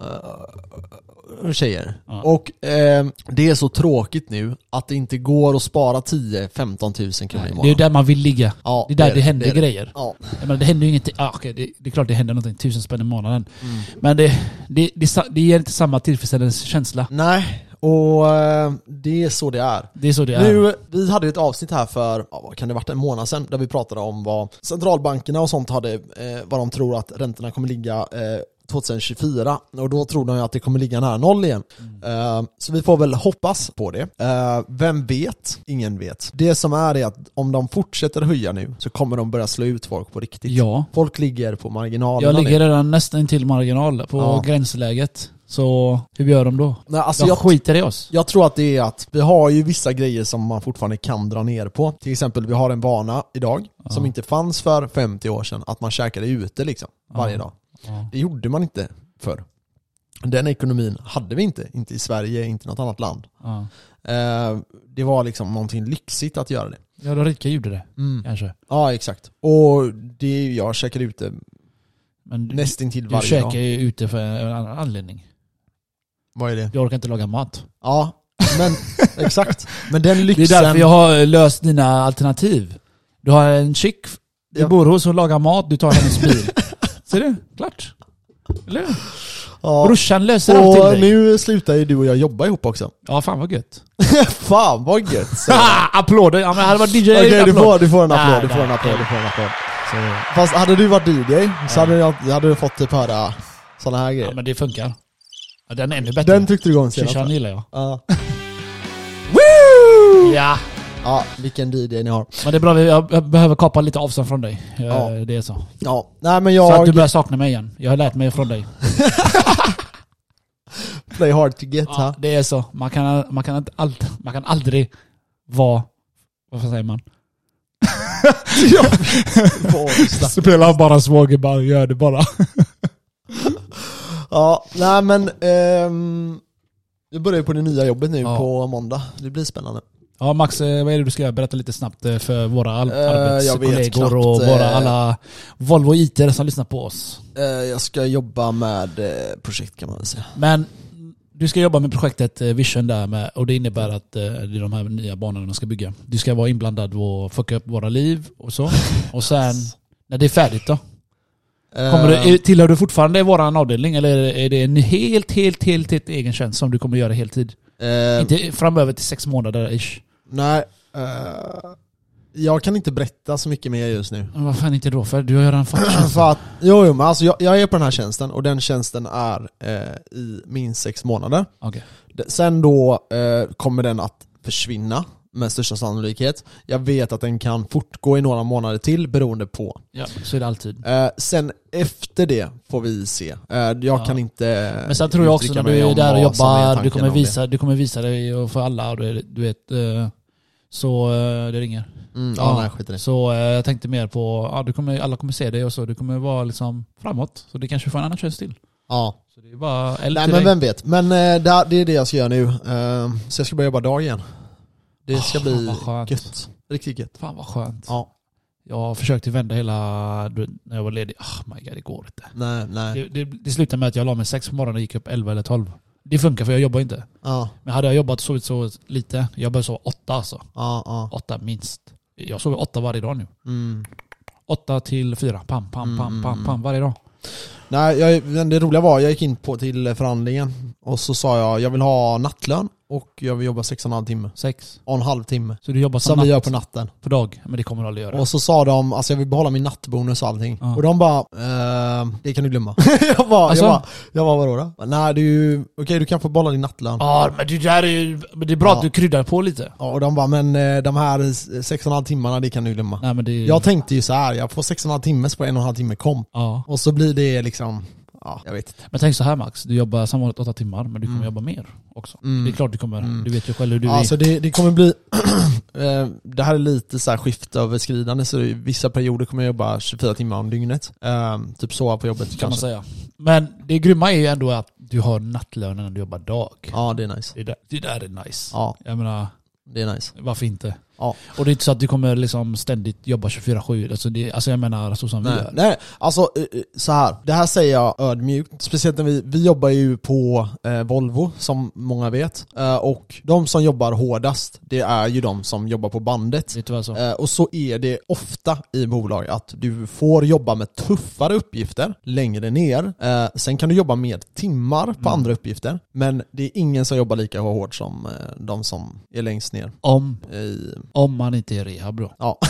Speaker 1: tjejer. Och ehm, det är så tråkigt nu att det inte går att spara 10-15 000 kronor i
Speaker 2: Det är ju
Speaker 1: månaden.
Speaker 2: där man vill ligga.
Speaker 1: Ja,
Speaker 2: det är där det, händer
Speaker 1: det är det.
Speaker 2: grejer.
Speaker 1: Ja.
Speaker 2: Jag menar, det händer ju ingenting. Ah, okej, det, det är klart det händer någonting. Tusen spänn i månaden.
Speaker 1: Mm.
Speaker 2: Men det, det, det, sa- det ger inte samma tillfredsställelsekänsla.
Speaker 1: Mm. Nej, och ehm, det är så det är.
Speaker 2: Det är så det är.
Speaker 1: Nu, vi hade ju ett avsnitt här för, ja, vad kan det varit, en månad sedan, där vi pratade om vad centralbankerna och sånt hade, eh, vad de tror att räntorna kommer ligga eh, 2024 och då tror de ju att det kommer ligga nära noll igen. Eh, så vi får väl hoppas på det. Eh, vem vet? Ingen vet. Det som är är att om de fortsätter höja nu så kommer de börja slå ut folk på riktigt.
Speaker 2: Ja.
Speaker 1: Folk ligger på marginalerna
Speaker 2: Jag ligger
Speaker 1: nu.
Speaker 2: redan nästan till marginal på
Speaker 1: Ja.
Speaker 2: gränsläget. Så hur gör de då?
Speaker 1: Nej, alltså
Speaker 2: de
Speaker 1: jag,
Speaker 2: skiter i oss.
Speaker 1: Jag tror att det är att vi har ju vissa grejer som man fortfarande kan dra ner på. Till exempel, vi har en vana idag som inte fanns för 50 år sedan, att man käkade ute liksom varje dag.
Speaker 2: Ja.
Speaker 1: Det gjorde man inte förr. Den ekonomin hade vi inte, inte i Sverige, inte i något annat land.
Speaker 2: Ja.
Speaker 1: Eh, det var liksom någonting lyxigt att göra det.
Speaker 2: Ja, de rika gjorde det. Kanske.
Speaker 1: Ja, exakt. Och det är ju, jag käkar ute
Speaker 2: Men du,
Speaker 1: nästintill
Speaker 2: du
Speaker 1: varje
Speaker 2: käkar
Speaker 1: dag.
Speaker 2: ju ute för en annan anledning.
Speaker 1: Vad är det?
Speaker 2: Jag orkar inte laga mat.
Speaker 1: Ja, men exakt. Men den
Speaker 2: Det
Speaker 1: lyxen...
Speaker 2: är därför jag har löst dina alternativ. Du har en chick du
Speaker 1: Ja.
Speaker 2: bor hos och lagar mat, du tar hennes bil. Ser du? Klart. Eller hur?
Speaker 1: ja.
Speaker 2: Brorsan löser allt
Speaker 1: Och
Speaker 2: till dig.
Speaker 1: nu slutar ju du och jag jobba ihop också.
Speaker 2: Ja, fan vad gött.
Speaker 1: Fan vad gött! Så-
Speaker 2: Ha! Applåder! Ja, men hade varit DJ
Speaker 1: Okej du,
Speaker 2: applåd.
Speaker 1: får, du får en applåd,
Speaker 2: Nej,
Speaker 1: du får en
Speaker 2: nej.
Speaker 1: applåd, du får en applåd.
Speaker 2: Så,
Speaker 1: Fast hade du varit DJ så hade, jag, hade du fått typ höra sådana här
Speaker 2: ja,
Speaker 1: grejer.
Speaker 2: men det funkar. Ja, den är ännu bättre.
Speaker 1: Den tyckte du igång senast
Speaker 2: Shishan
Speaker 1: va?
Speaker 2: gillar jag.
Speaker 1: Ja. Woo!
Speaker 2: Ja,
Speaker 1: Ja, vilken DJ ni har.
Speaker 2: men det är bra. Jag jag behöver kapa lite avstånd från dig. Eh,
Speaker 1: Ja.
Speaker 2: Det är så. Så
Speaker 1: Ja, nej men
Speaker 2: att du
Speaker 1: jag...
Speaker 2: börjar sakna mig igen. Jag har lärt mig från dig.
Speaker 1: Play hard to get
Speaker 2: Ja,
Speaker 1: ha.
Speaker 2: det är så. Man kan, man kan, inte all, man kan aldrig vara... Vad säger man?
Speaker 1: På Årsta.
Speaker 2: Spela bara svågerbandy, gör det bara.
Speaker 1: Ja, nej men... ehm, vi börjar ju på det nya jobbet nu
Speaker 2: Ja.
Speaker 1: på måndag. Det blir spännande.
Speaker 2: Ja Max, eh, vad är det du ska göra? Berätta lite snabbt eh, för våra al-
Speaker 1: Eh, jag vet knappt,
Speaker 2: arbetskollegor och
Speaker 1: eh.
Speaker 2: våra alla Volvo IT som lyssnar på oss.
Speaker 1: Eh, jag ska jobba med eh, projekt kan man väl säga.
Speaker 2: Men du ska jobba med projektet eh, Vision där med, och det innebär att eh, det är de här nya banorna de ska bygga. Du ska vara inblandad och fucka upp våra liv och så. Och sen, när det är färdigt då? Kommer
Speaker 1: Eh,
Speaker 2: du, tillhör du fortfarande våran avdelning eller är det en helt, helt, helt, helt egen tjänst som du kommer göra heltid?
Speaker 1: ehm,
Speaker 2: Inte framöver till sex månader ish.
Speaker 1: Nej, eh, jag kan inte berätta så mycket mer just nu.
Speaker 2: Men vad fan inte då? För du har ju redan fått tjänsten.
Speaker 1: För att, jo, jo men alltså jag, jag är på den här tjänsten och den tjänsten är eh, i minst sex månader.
Speaker 2: Okej.
Speaker 1: D- Sen då eh, kommer den att försvinna med största sannolikhet. Jag vet att den kan fortgå i några månader till beroende på.
Speaker 2: Ja, så är det alltid.
Speaker 1: Eh, sen efter det får vi se. Eh, jag
Speaker 2: Ja.
Speaker 1: kan inte
Speaker 2: Men sen tror jag också när du är där och jobbar, du kommer, visa, du kommer visa dig och för alla och du, du vet. eh, Så eh, det ringer.
Speaker 1: Mm, ja,
Speaker 2: Ja.
Speaker 1: nej skit i det.
Speaker 2: Så eh, jag tänkte mer på, ja, du kommer, alla kommer se dig och så, du kommer vara liksom framåt. Så det kanske får en annan tjänst till.
Speaker 1: Ja.
Speaker 2: Så det är bara eld
Speaker 1: Nej
Speaker 2: till
Speaker 1: men
Speaker 2: dig.
Speaker 1: vem vet. Men eh, det, det är det jag ska göra nu. Eh, så jag ska börja jobba dag igen. Det ska
Speaker 2: Ah,
Speaker 1: bli
Speaker 2: vad skönt.
Speaker 1: gött. Riktigt gött.
Speaker 2: Fan vad skönt.
Speaker 1: Ja.
Speaker 2: Jag försökte vända hela, du vet, när jag var ledig, oh my god det går inte.
Speaker 1: Nej, nej.
Speaker 2: Det, det, det slutade med att jag la mig sex på morgonen och gick upp elva eller tolv. Det funkar för jag jobbar inte.
Speaker 1: Ja,
Speaker 2: Men hade jag jobbat och sovit så lite, jag började sova åtta alltså.
Speaker 1: ja, ja.
Speaker 2: Åtta minst. Jag sover åtta varje dag nu.
Speaker 1: Mm.
Speaker 2: Åtta till fyra. Pam, pam, pam,
Speaker 1: Mm.
Speaker 2: pam, pam varje dag.
Speaker 1: Nej, jag, men det roliga var, jag gick in på till förhandlingen och så sa jag, jag vill ha nattlön och jag vill jobba sex och en halv timme.
Speaker 2: Sex.
Speaker 1: Och en halv timme.
Speaker 2: Så du jobbar
Speaker 1: Som
Speaker 2: som natt,
Speaker 1: vi gör på natten.
Speaker 2: på dag. Men det kommer du aldrig göra.
Speaker 1: Och så sa de, alltså jag vill behålla min nattbonus och allting.
Speaker 2: Ja.
Speaker 1: Och de bara, eh, det kan du glömma. jag bara,
Speaker 2: Alltså?
Speaker 1: jag bara, jag bara vadå då? Nej du, okej du kan få behålla din nattlön.
Speaker 2: Ja, men det där är ju... Men det är bra
Speaker 1: Ja.
Speaker 2: att du kryddar på lite.
Speaker 1: Ja, och de bara, men eh, de här sex och en halv timmarna, det kan du glömma.
Speaker 2: Nej men det...
Speaker 1: Jag tänkte ju så här, jag får sex och en halv timme så får jag en och en halv timme komp.
Speaker 2: ja.
Speaker 1: Och så blir det liksom, ja ja, jag vet inte.
Speaker 2: Men tänk så här Max, du jobbar som vanligt åtta timmar, men du kommer jobba mer också.
Speaker 1: Mm.
Speaker 2: Det är klart du kommer. Du vet ju själv hur du är.
Speaker 1: Alltså det, det kommer bli, eh, det här är lite så här skiftöverskridande så i vissa perioder kommer jag jobba 24 timmar om dygnet. Eh, typ sova på jobbet
Speaker 2: kan man
Speaker 1: kanske.
Speaker 2: säga. Men det grymma är ju ändå att du har nattlönen när du jobbar dag.
Speaker 1: Ja det är nice.
Speaker 2: Det, där, det där är nice.
Speaker 1: Ja,
Speaker 2: Jag menar,
Speaker 1: det är nice.
Speaker 2: varför inte?
Speaker 1: Ja.
Speaker 2: Och det är inte så att du kommer liksom ständigt jobba 24-7. Alltså, det- alltså jag menar så som vi
Speaker 1: Nej,
Speaker 2: gör.
Speaker 1: nej, alltså eh, eh, så här. Det här säger jag ödmjukt. Speciellt när vi, vi jobbar ju på eh, Volvo, som många vet. Eh, och de som jobbar hårdast, det är ju de som jobbar på bandet.
Speaker 2: Det är tyvärr så.
Speaker 1: Eh, och så är det ofta i bolag att du får jobba med tuffare uppgifter längre ner. Eh, sen kan du jobba med timmar
Speaker 2: Mm.
Speaker 1: på andra uppgifter. Men det är ingen som jobbar lika hårt som eh, de som är längst ner.
Speaker 2: Om,
Speaker 1: I,
Speaker 2: om man inte är rehab då.
Speaker 1: ja.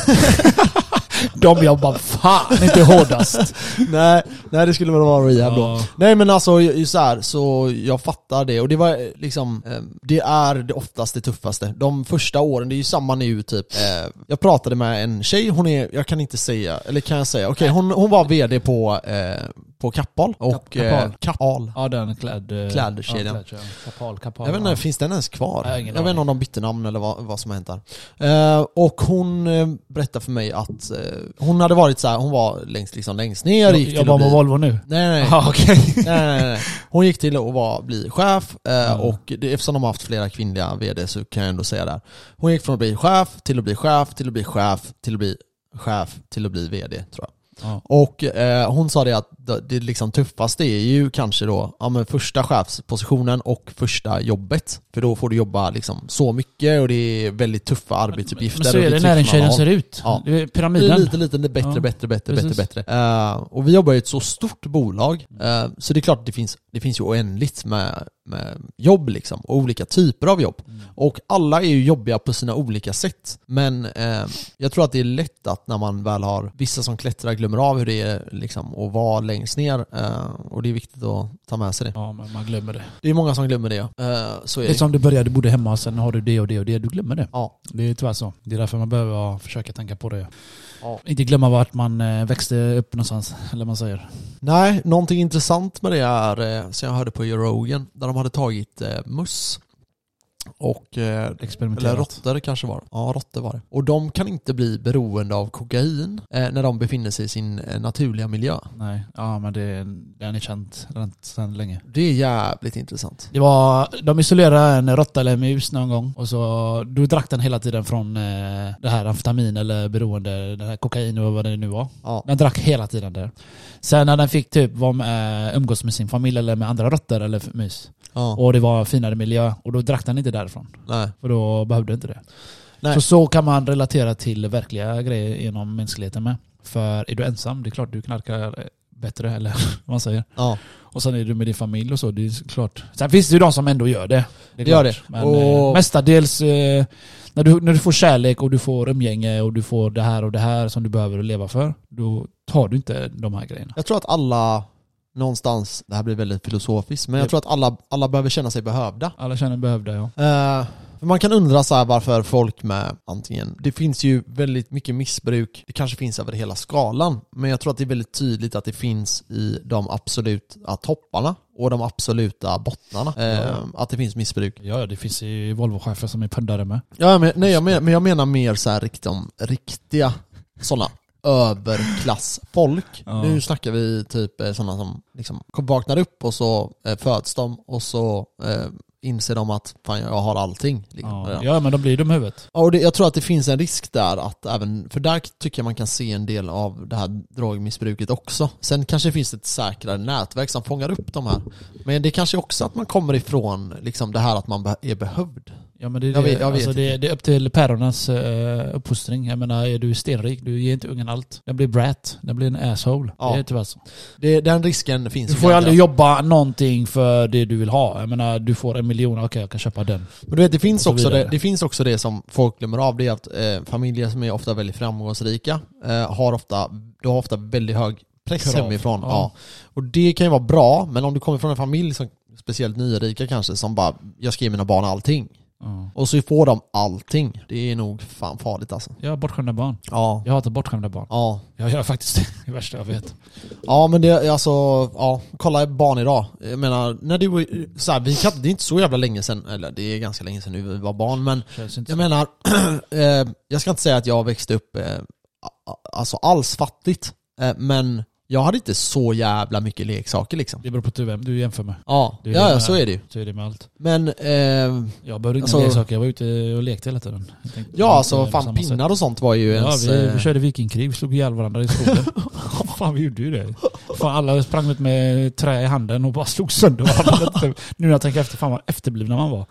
Speaker 2: De jobbar fan inte hårdast.
Speaker 1: nej, nej, det skulle väl vara rehab då.
Speaker 2: Ja.
Speaker 1: Nej men alltså ju- ju så, här, så jag fattar det och det var eh, liksom, eh, det är det oftast det tuffaste. De första åren, det är ju samma nu typ. Eh, jag pratade med en tjej, hon är, jag kan inte säga, eller kan jag säga? Okej, hon, hon var VD på, eh, på Kappahl och...
Speaker 2: Kap- Kappahl.
Speaker 1: Eh, Kappahl.
Speaker 2: Ja den kläd... eh,
Speaker 1: Klädkedjan.
Speaker 2: ja, klädkedjan. Kapal, kapal.
Speaker 1: Jag vet
Speaker 2: ja.
Speaker 1: inte, finns den ens kvar?
Speaker 2: Jag har
Speaker 1: Jag,
Speaker 2: ingen
Speaker 1: vet
Speaker 2: aning.
Speaker 1: inte om de bytte namn eller vad, vad som har hänt där. Eh, och hon eh, berättade för mig att eh, hon hade varit så här, hon var längst, liksom, längst ner,
Speaker 2: Jag,
Speaker 1: gick till
Speaker 2: jag var
Speaker 1: att
Speaker 2: med
Speaker 1: bli...
Speaker 2: Volvo nu.
Speaker 1: Nej, nej, nej.
Speaker 2: Ja, okej.
Speaker 1: nej, nej, nej. Eh, Hon gick till att vara, bli chef eh,
Speaker 2: Ja.
Speaker 1: och det, eftersom de har haft flera kvinnliga vd så kan jag ändå säga det här. Hon gick från att bli chef till att bli chef till att bli chef till att bli chef till att bli vd tror jag.
Speaker 2: Ja.
Speaker 1: Och eh, hon sa det att det, det liksom tuffaste är ju kanske då ja, men första chefspositionen och första jobbet. För då får du jobba liksom så mycket och det är väldigt tuffa arbetsuppgifter.
Speaker 2: Men så
Speaker 1: och
Speaker 2: är det
Speaker 1: trycker man av.
Speaker 2: näringskedjan ser ut.
Speaker 1: Ja.
Speaker 2: Det är
Speaker 1: Det är
Speaker 2: pyramiden.
Speaker 1: lite, lite bättre,
Speaker 2: Ja,
Speaker 1: bättre, bättre,
Speaker 2: precis.
Speaker 1: bättre, bättre. Eh, och vi jobbar ju i ett så stort bolag, eh, så det är klart att det finns, det finns ju oändligt med, med jobb liksom, och olika typer av jobb.
Speaker 2: Mm.
Speaker 1: Och alla är ju jobbiga på sina olika sätt. Men eh, jag tror att det är lätt att när man väl har vissa som klättrar glömmer av hur det är liksom, att vara längst ner. Eh, och det är viktigt att ta med sig det.
Speaker 2: Ja, men man glömmer det.
Speaker 1: Det är många som glömmer det. Eh, så är
Speaker 2: Det är
Speaker 1: det.
Speaker 2: som du började, du bodde hemma, sen har du det och det och det. Du glömmer det.
Speaker 1: Ja.
Speaker 2: Det är tyvärr så. Det är därför man behöver ja, försöka tänka på det.
Speaker 1: Ja.
Speaker 2: Inte glömma vart man eh, växte upp någonstans, eller vad man säger.
Speaker 1: Nej, någonting intressant med det är, eh, som jag hörde på Joe Rogan, där de hade tagit eh, möss och eh, eller
Speaker 2: Experimenterat.
Speaker 1: råttor kanske var det. Ja, råttor var det. Och de kan inte bli beroende av kokain eh, när de befinner sig i sin eh, naturliga miljö.
Speaker 2: Nej, ja men det, den är känd redan sedan länge.
Speaker 1: Det är jävligt intressant.
Speaker 2: Det var, de isolerade en råtta eller en mus någon gång och så då drack den hela tiden från eh, det här amfetamin eller beroende, den här kokain och vad det nu var.
Speaker 1: Ja.
Speaker 2: Den drack hela tiden där. Sen när den fick typ vara med, umgås med sin familj eller med andra råttor eller mus
Speaker 1: ja.
Speaker 2: och det var finare miljö och då drack den inte därifrån.
Speaker 1: Nej.
Speaker 2: För då behövde inte det.
Speaker 1: Nej.
Speaker 2: Så så kan man relatera till verkliga grejer inom mänskligheten med. För är du ensam, det är klart du knarkar eh, bättre eller vad man säger.
Speaker 1: Ja.
Speaker 2: Och sen är du med din familj och så, det är klart. Sen finns det ju de som ändå gör det. är
Speaker 1: Det gör
Speaker 2: klart.
Speaker 1: det.
Speaker 2: Men
Speaker 1: Och-
Speaker 2: eh, mestadels eh, när du, när du får kärlek och du får umgänge och du får det här och det här som du behöver leva för, då tar du inte de här grejerna.
Speaker 1: Jag tror att alla någonstans, det här blir väldigt filosofiskt, men jag
Speaker 2: Ja.
Speaker 1: tror att alla, alla behöver känna sig behövda.
Speaker 2: Alla känner behövda ja.
Speaker 1: Eh, för man kan undra så här varför folk med antingen, det finns ju väldigt mycket missbruk, det kanske finns över hela skalan, men jag tror att det är väldigt tydligt att det finns i de absoluta topparna och de absoluta bottnarna. Eh,
Speaker 2: Ja,
Speaker 1: Att det finns missbruk.
Speaker 2: Ja, ja, det finns ju Volvo-chefer som är pundare med.
Speaker 1: Ja, men, nej, jag men, men jag menar mer så här rikt- om riktiga sådana överklassfolk.
Speaker 2: Ja.
Speaker 1: Nu snackar vi typ eh, sådana som liksom vaknar upp och så eh, föds de och så eh, inser de att fan jag har allting. Liksom,
Speaker 2: Ja,
Speaker 1: redan.
Speaker 2: ja men de blir dum i huvudet.
Speaker 1: Ja, och det, jag tror att det finns en risk där att även, för där tycker jag man kan se en del av det här drogmissbruket också. Sen kanske det finns ett säkrare nätverk som fångar upp de här. Men det kanske också att man kommer ifrån liksom, det här att man be- är behövd.
Speaker 2: Ja, men det, är
Speaker 1: Jag
Speaker 2: det,
Speaker 1: vet- jag
Speaker 2: alltså,
Speaker 1: vet
Speaker 2: det, det är upp till päronens eh, uppfostring. Jag menar, är du stenrik, du ger inte ungen allt. Den blir brat, den blir en asshole.
Speaker 1: Ja.
Speaker 2: Det är tyvärr så.
Speaker 1: Det, den risken finns.
Speaker 2: Du får ju aldrig jobba någonting för det du vill ha. Jag menar, du får en miljon, okej jag kan köpa den.
Speaker 1: Men du vet, det finns,
Speaker 2: så
Speaker 1: också det,
Speaker 2: vidare.
Speaker 1: det finns också det som folk glömmer av, det är att eh, familjer som är ofta väldigt framgångsrika eh, har ofta, du har ofta väldigt hög press
Speaker 2: Krav.
Speaker 1: hemifrån. Ja.
Speaker 2: Ja.
Speaker 1: Och det kan ju vara bra, men om du kommer från en familj som speciellt nyrika kanske, som bara, jag ska ge mina barn allting.
Speaker 2: Ja.
Speaker 1: Och så får de allting. Det är nog fan farligt alltså.
Speaker 2: Jag har bortskämda barn.
Speaker 1: Ja.
Speaker 2: Jag hatar bortskämda barn.
Speaker 1: Ja.
Speaker 2: Jag gör faktiskt det. Det värsta jag vet.
Speaker 1: Ja men det, är alltså, ja. Kolla barn idag. Jag menar, när du var, så här, vi kan, det är inte så jävla länge sedan, eller det är ganska länge sedan nu vi var barn, men
Speaker 2: Känns inte
Speaker 1: jag
Speaker 2: så.
Speaker 1: menar, eh, jag ska inte säga att jag växte upp eh, a- a- alltså alls fattigt, eh, men jag hade inte så jävla mycket leksaker liksom.
Speaker 2: Det beror på du, vem du jämför med.
Speaker 1: Ja,
Speaker 2: Det är
Speaker 1: ja,
Speaker 2: det
Speaker 1: ja
Speaker 2: med-
Speaker 1: så är det ju.
Speaker 2: Så är det med allt.
Speaker 1: Men, eh,
Speaker 2: Jag behövde inga
Speaker 1: Alltså-
Speaker 2: leksaker. Jag var ute och lekte hela tiden. Jag tänkte-
Speaker 1: ja alltså
Speaker 2: jag
Speaker 1: vad fan
Speaker 2: samma sätt.
Speaker 1: pinnar och sånt var ju
Speaker 2: Ja,
Speaker 1: ens...
Speaker 2: vi,
Speaker 1: eh,
Speaker 2: vi körde vikingkrig, vi slog ihjäl varandra i skogen. fan, vi gjorde ju det. Fan, alla sprang ut med trä i handen och bara slog sönder varandra. typ. nu när jag tänker efter, fan vad efterblivna man var.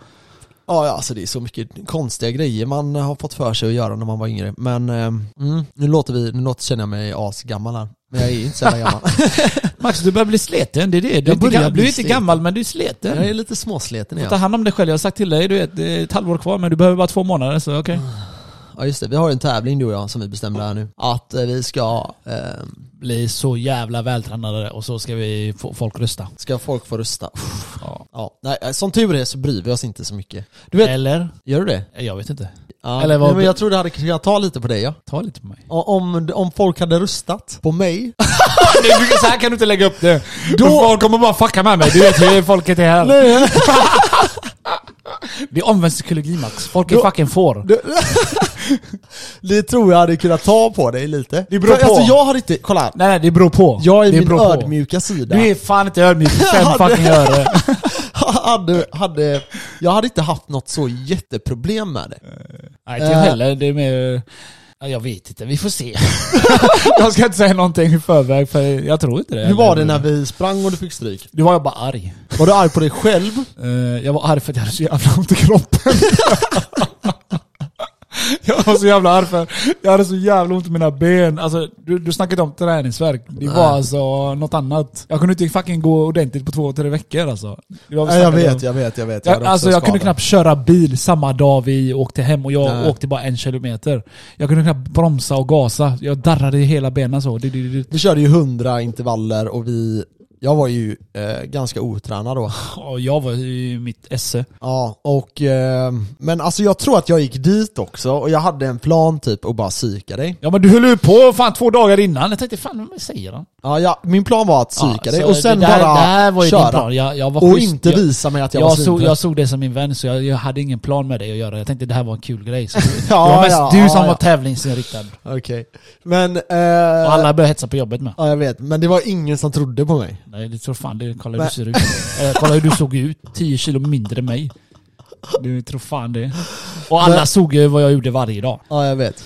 Speaker 1: Ja, ja, alltså det är så mycket konstiga grejer man har fått för sig att göra när man var yngre. Men eh, mm, nu låter vi, nu låter, känner jag mig asgammal här. Men jag är inte så jävla gammal.
Speaker 2: Max, du börjar bli sleten. Det är det. Du, är
Speaker 1: Jag
Speaker 2: inte,
Speaker 1: börjar
Speaker 2: gam-
Speaker 1: bli
Speaker 2: du är inte
Speaker 1: sliten.
Speaker 2: gammal, men du är sleten.
Speaker 1: jag är lite småsleten
Speaker 2: Ta
Speaker 1: igen.
Speaker 2: hand om dig själv. Jag har sagt till dig, du vet, det är ett halvår kvar, men du behöver bara två månader. Så okej.
Speaker 1: Ja just det, vi har ju en tävling du och jag som vi bestämde här nu. Att eh, vi ska, eh,
Speaker 2: Bli så jävla vältränade och så ska vi få folk rösta.
Speaker 1: ska folk få rösta. Uff,
Speaker 2: Ja.
Speaker 1: Ja, nej, eh, som tur är så bryr vi oss inte så mycket. Du vet,
Speaker 2: Eller?
Speaker 1: gör du det?
Speaker 2: Jag vet inte.
Speaker 1: Ja.
Speaker 2: Eller vad-
Speaker 1: nej, men jag tror det hade kunnat ta lite på dig ja.
Speaker 2: Ta lite på mig.
Speaker 1: O- Om, om folk hade röstat på mig.
Speaker 2: så här kan du inte lägga upp det. Då... Folk kommer bara fucka med mig. Du vet hur folket är här. Det är omvänd psykologi Max. Folk är
Speaker 1: Då-
Speaker 2: fucking får.
Speaker 1: Du- det tror jag hade kunnat ta på dig lite.
Speaker 2: Det beror på.
Speaker 1: Alltså jag har inte, kolla här.
Speaker 2: Nej nej, det beror på.
Speaker 1: Jag är
Speaker 2: det
Speaker 1: min
Speaker 2: beror på.
Speaker 1: ödmjuka sida.
Speaker 2: Du är fan inte ödmjuk för
Speaker 1: Ja,
Speaker 2: fem
Speaker 1: det-
Speaker 2: fucking öre.
Speaker 1: hade, hade, jag hade inte haft något så jätteproblem med det.
Speaker 2: Nej inte jag
Speaker 1: Eh.
Speaker 2: heller. Det är mer... Ja, Jag vet inte, vi får se. jag ska inte säga någonting i förväg för jag tror inte det.
Speaker 1: Hur var det när vi sprang och du fick stryk?
Speaker 2: Du var jag bara arg.
Speaker 1: Var du arg på dig själv?
Speaker 2: Eh, jag var arg för att jag hade så jävla ont i kroppen. jag var så jävla arg för jag hade så jävla ont i mina ben. Alltså, du, du snackade om träningsvärk. Det var alltså något annat. Jag kunde inte fucking gå ordentligt på två, tre veckor alltså. Det var vad vi
Speaker 1: Nej, jag
Speaker 2: snackade
Speaker 1: vet,
Speaker 2: om.
Speaker 1: jag vet, jag vet.
Speaker 2: Jag,
Speaker 1: hade också
Speaker 2: alltså jag kunde
Speaker 1: skador.
Speaker 2: knappt köra bil samma dag vi åkte hem och jag
Speaker 1: Nej.
Speaker 2: åkte bara en kilometer. Jag kunde knappt bromsa och gasa. Jag darrade i hela benen så. Det, det, det.
Speaker 1: Vi körde ju hundra intervaller och vi, jag var ju eh, ganska otränad då.
Speaker 2: Ja, Jag var i mitt esse.
Speaker 1: Ja, och, eh, men alltså jag tror att jag gick dit också och jag hade en plan typ att bara psyka dig.
Speaker 2: Ja men du höll ju på fan två dagar innan. Jag tänkte fan vad säger han?
Speaker 1: Ja, ja min plan var att psyka
Speaker 2: Ja,
Speaker 1: dig
Speaker 2: så
Speaker 1: och sen
Speaker 2: det där,
Speaker 1: bara
Speaker 2: det här var ju din
Speaker 1: köra.
Speaker 2: plan. Jag, jag var
Speaker 1: Och
Speaker 2: schysst.
Speaker 1: inte
Speaker 2: jag,
Speaker 1: visa mig att jag, var
Speaker 2: jag, såg,
Speaker 1: svintrött.
Speaker 2: jag såg det som min vän, så jag, jag hade ingen plan med det att göra. Jag tänkte det här var en kul grej. Så det
Speaker 1: Ja,
Speaker 2: var mest
Speaker 1: ja,
Speaker 2: du
Speaker 1: ja,
Speaker 2: som
Speaker 1: ja.
Speaker 2: var tävlingsinriktad.
Speaker 1: Okej. Men... Eh,
Speaker 2: Och alla började hetsa på jobbet med.
Speaker 1: Ja jag vet, men det var ingen som trodde på mig.
Speaker 2: Nej, det tror fan det. Kolla hur
Speaker 1: Men-
Speaker 2: du ser ut. Eh, kolla hur du såg ut. 10 kilo mindre än mig. Du tror fan det. Och alla
Speaker 1: Men-
Speaker 2: såg ju vad jag gjorde varje dag.
Speaker 1: Ja jag vet.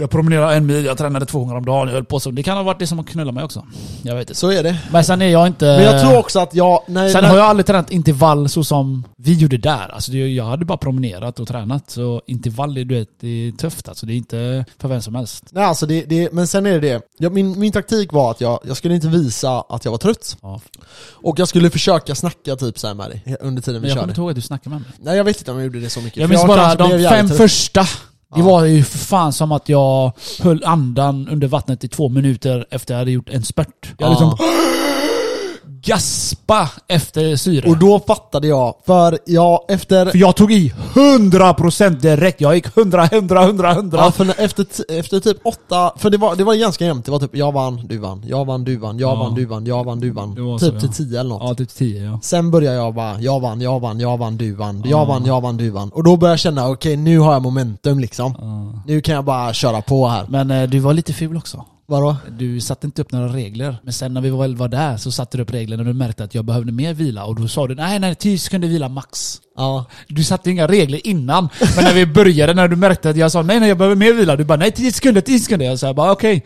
Speaker 2: Jag promenerade en mil, jag tränade två gånger om dagen, jag höll på så. Det kan ha varit det som knullade mig också. Jag vet inte.
Speaker 1: Så är det.
Speaker 2: Men sen är jag inte...
Speaker 1: Men jag tror också att jag... Nej,
Speaker 2: Eh, Sen
Speaker 1: nej,
Speaker 2: har jag aldrig tränat intervall så som vi gjorde där. Alltså det, jag hade bara promenerat och tränat. Så intervall är, du vet, det är tufft alltså. Det är inte för vem som helst.
Speaker 1: nej alltså det, det, men sen är det det. Jag, min, min taktik var att jag, jag skulle inte visa att jag var trött.
Speaker 2: Ja.
Speaker 1: Och jag skulle försöka snacka typ så här med dig under tiden
Speaker 2: Men
Speaker 1: vi
Speaker 2: jag
Speaker 1: körde.
Speaker 2: kommer inte ihåg att du snackade med mig.
Speaker 1: Nej jag vet inte om jag gjorde det så mycket.
Speaker 2: Jag
Speaker 1: för
Speaker 2: minns bara
Speaker 1: kanske blev
Speaker 2: de
Speaker 1: jävligt
Speaker 2: fem
Speaker 1: trött.
Speaker 2: första. Det
Speaker 1: Ja.
Speaker 2: var ju för fan som att jag höll andan under vattnet i två minuter efter jag hade gjort en spurt. Jag
Speaker 1: Ja.
Speaker 2: liksom gaspa efter syre.
Speaker 1: Och då fattade jag, för jag efter...
Speaker 2: för jag tog i 100% direkt. Jag gick 100, 100, 100, 100.
Speaker 1: Ja, för när- efter, t- efter typ åtta, för det var, det var ganska jämnt, det var typ jag vann, du vann, jag vann, du vann, jag
Speaker 2: Ja.
Speaker 1: vann, du vann, jag vann, du vann.
Speaker 2: Det var
Speaker 1: Typ
Speaker 2: så, ja.
Speaker 1: till tio eller något.
Speaker 2: ja typ 10 ja.
Speaker 1: Sen börjar jag bara, jag vann, jag vann, jag vann, du vann, jag
Speaker 2: Ja.
Speaker 1: vann, jag vann, du vann. Och då börjar jag känna, okej nu har jag momentum liksom.
Speaker 2: ja.
Speaker 1: Nu kan jag bara köra på här.
Speaker 2: Men eh, du var lite ful också.
Speaker 1: Vadå?
Speaker 2: Du satte inte upp några regler. Men sen när vi väl var där så satte du upp reglerna och du märkte att jag behövde mer vila. Och då sa du nej, nej, 10 sekunder vila max.
Speaker 1: Ja.
Speaker 2: Du satte inga regler innan. Men när vi började, när du märkte att jag sa nej, nej, jag behöver mer vila. Du bara nej, 10 sekunder, 10 sekunder. Jag sa bara okej.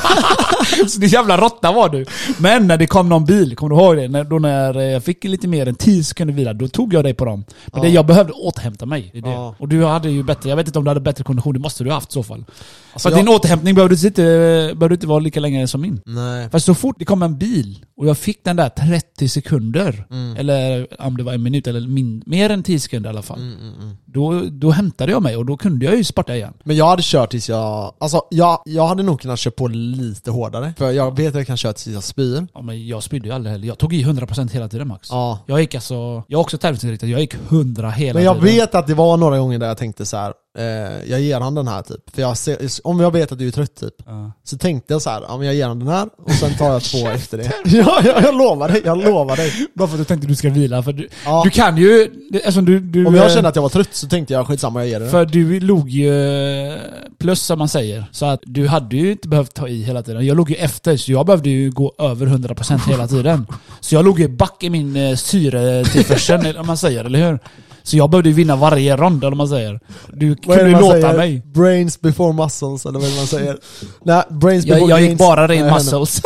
Speaker 2: så det jävla råtta var du. Men när det kom någon bil, kommer du ihåg det? När, då när eh, jag fick lite mer än 10 sekunder vila, då tog jag dig på dem. Men det,
Speaker 1: Ja.
Speaker 2: jag behövde återhämta mig. Det är det.
Speaker 1: Ja.
Speaker 2: Och du hade ju bättre, jag vet inte om du hade bättre kondition, det måste du ha haft i så fall. För att
Speaker 1: Alltså, jag-
Speaker 2: din återhämtning behövde du inte, eh, behövde inte vara lika länge som min.
Speaker 1: Nej.
Speaker 2: För så fort det kom en bil och jag fick den där 30 sekunder,
Speaker 1: Mm.
Speaker 2: eller om det var en minut eller min, mer än 10 sekunder i alla fall.
Speaker 1: Mm,
Speaker 2: Då, då hämtade jag mig och då kunde jag ju sparta igen.
Speaker 1: Men jag hade kört tills jag, alltså jag, jag hade nog kunnat köra på lite hårdare. För jag vet att jag kan köra tills jag spyr.
Speaker 2: Ja, men jag spydde ju aldrig heller. Jag tog i 100% hela tiden Max.
Speaker 1: Ja.
Speaker 2: Jag gick alltså, jag är också tävlingsinriktad, jag gick 100 hela
Speaker 1: Men jag
Speaker 2: tiden.
Speaker 1: vet att det var några gånger där jag tänkte så här. Eh, jag ger han den här typ. För jag ser, om jag vet att du är trött typ.
Speaker 2: Ja.
Speaker 1: Så tänkte jag så här, ja, men jag ger han den här och sen tar jag två efter det. Ja, jag, jag lovar dig, jag lovar dig.
Speaker 2: Bara för att du tänkte du ska vila, för du,
Speaker 1: Ja.
Speaker 2: du kan ju... det- Eftersom du, du,
Speaker 1: Om jag
Speaker 2: eh,
Speaker 1: kände att jag var trött så tänkte jag skitsamma, jag ger den.
Speaker 2: För du låg ju eh, plus som man säger. Så att du hade ju inte behövt ta i hela tiden. Jag låg ju efter, så jag behövde ju gå över 100% hela tiden. Så jag låg ju back i min eh, syretillförsel, eller om man säger, eller hur? Så jag behövde ju vinna varje rond, eller om man säger. Du
Speaker 1: Vad är
Speaker 2: kunde
Speaker 1: det
Speaker 2: ju
Speaker 1: man
Speaker 2: låta
Speaker 1: säger?
Speaker 2: mig.
Speaker 1: Brains before muscles, eller vad är det man säger? Nej, brains before
Speaker 2: Jag, jag gick
Speaker 1: gains.
Speaker 2: bara ren
Speaker 1: Nej, jag vet inte.
Speaker 2: muscles.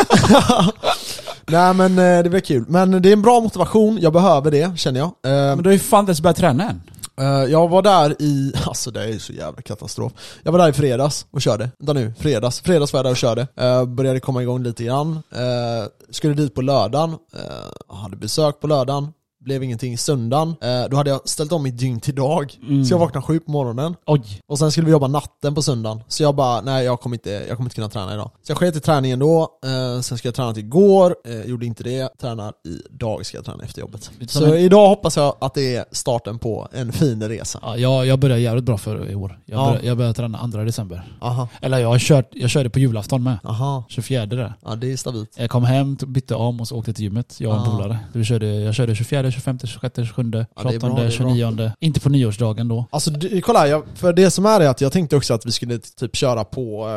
Speaker 1: Nej men eh, det blir kul. Men det är en bra motivation, jag behöver det känner jag. Eh,
Speaker 2: Men du har ju fan inte ens börjat träna än.
Speaker 1: eh, jag var där i, alltså det är ju så jävla katastrof. Jag var där i fredags och körde. Vänta nu, fredags. Fredags var jag där och körde. Eh, började komma igång lite grann. Eh, skulle dit på lördagen, eh, hade besök på lördagen. Blev ingenting. Söndagen, eh, då hade jag ställt om mitt dygn till dag. Så jag vaknade sju på morgonen.
Speaker 2: Oj.
Speaker 1: Och sen skulle vi jobba natten på söndagen, så jag bara, nej jag kommer inte, jag kommer inte kunna träna idag. Så jag sket i träningen då, eh, sen ska jag träna till igår, eh, gjorde inte det, tränar idag ska jag träna efter jobbet.
Speaker 2: Lite som
Speaker 1: Så
Speaker 2: en-
Speaker 1: idag hoppas jag att det är starten på en fin resa.
Speaker 2: Ja, jag, jag började jävligt bra för i år. Jag,
Speaker 1: Ja.
Speaker 2: började, jag började träna 2 december.
Speaker 1: Aha,
Speaker 2: Eller jag, har kört, jag körde på julafton med.
Speaker 1: aha,
Speaker 2: 24 där.
Speaker 1: ja det är stabilt.
Speaker 2: Jag kom hem, tog- bytte om och så åkte till gymmet. Jag och en
Speaker 1: Ah.
Speaker 2: polare. Så vi körde, jag körde 24, 25, 26, 27,
Speaker 1: Ja, det är bra,
Speaker 2: 28,
Speaker 1: det är bra.
Speaker 2: 29. Inte på nyårsdagen då.
Speaker 1: Alltså du, kolla, här, jag, för det som är är att jag tänkte också att vi skulle typ köra på,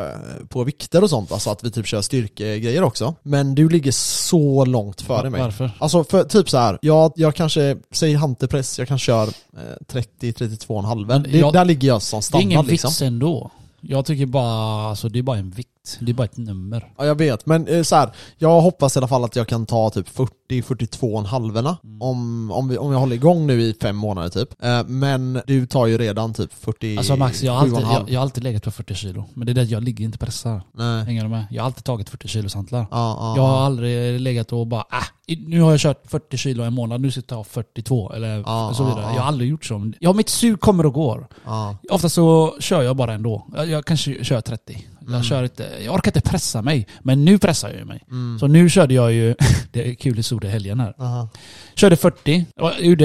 Speaker 1: eh, på vikter och sånt, alltså att vi typ kör styrkegrejer också. Men du ligger så långt före mig.
Speaker 2: Varför?
Speaker 1: Alltså för typ så här, jag, jag kanske, säg hantelpress, jag kanske kör eh, 30-32,5. Men det,
Speaker 2: Jag-
Speaker 1: där ligger jag som
Speaker 2: Det är ingen
Speaker 1: standard
Speaker 2: vits
Speaker 1: liksom.
Speaker 2: ändå. Jag tycker bara, alltså det är bara en vikt. Det är bara ett nummer.
Speaker 1: Ja jag vet, men eh, så här, jag hoppas i alla fall att jag kan ta typ 40-42,5
Speaker 2: Mm.
Speaker 1: om, om, vi- om jag håller igång nu i fem månader typ. Eh, men du tar ju redan typ 47,5.
Speaker 2: Alltså Max, jag har, alltid, jag, jag har alltid legat på 40 kilo. Men det är det att jag ligger inte pressar.
Speaker 1: Nej.
Speaker 2: Hänger du med? Jag har alltid tagit 40 kilos hantlar.
Speaker 1: Ja, ja,
Speaker 2: Jag
Speaker 1: ja.
Speaker 2: har aldrig legat och bara ah, i- nu har jag kört 40 kilo en månad, nu ska jag ta 42 eller
Speaker 1: Ja,
Speaker 2: så
Speaker 1: ja,
Speaker 2: vidare.
Speaker 1: ja.
Speaker 2: Jag har aldrig gjort så. Ja, mitt sug kommer och går.
Speaker 1: ja.
Speaker 2: Ofta så kör jag bara ändå. Jag, jag kanske kör 30. Jag, kör inte, jag orkar inte pressa mig, men nu pressar jag ju mig. Så nu körde jag ju, det är kul historia i helgen här.
Speaker 1: Aha.
Speaker 2: Körde 40, Jag gjorde,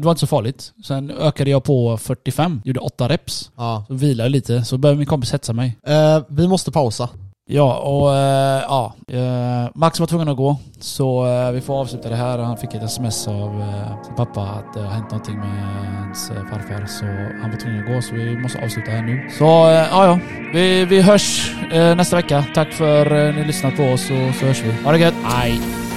Speaker 2: det var inte så farligt. Sen ökade jag på 45, gjorde 8 reps.
Speaker 1: Ja.
Speaker 2: Så vilade jag lite, så började min kompis hetsa mig.
Speaker 1: Eh, vi måste pausa.
Speaker 2: Ja, och eh, ja. eh, Max var tvungen att gå, så eh, vi får avsluta det här. Han fick ett sms av eh, sin pappa att det har hänt någonting med hans eh, farfar, så han var tvungen att gå, så vi måste avsluta här nu. Så eh, ja, ja. eh, Vi, vi hörs eh, nästa vecka. Tack för att ni lyssnat på oss, och så hörs vi. Ha det gött! Aj.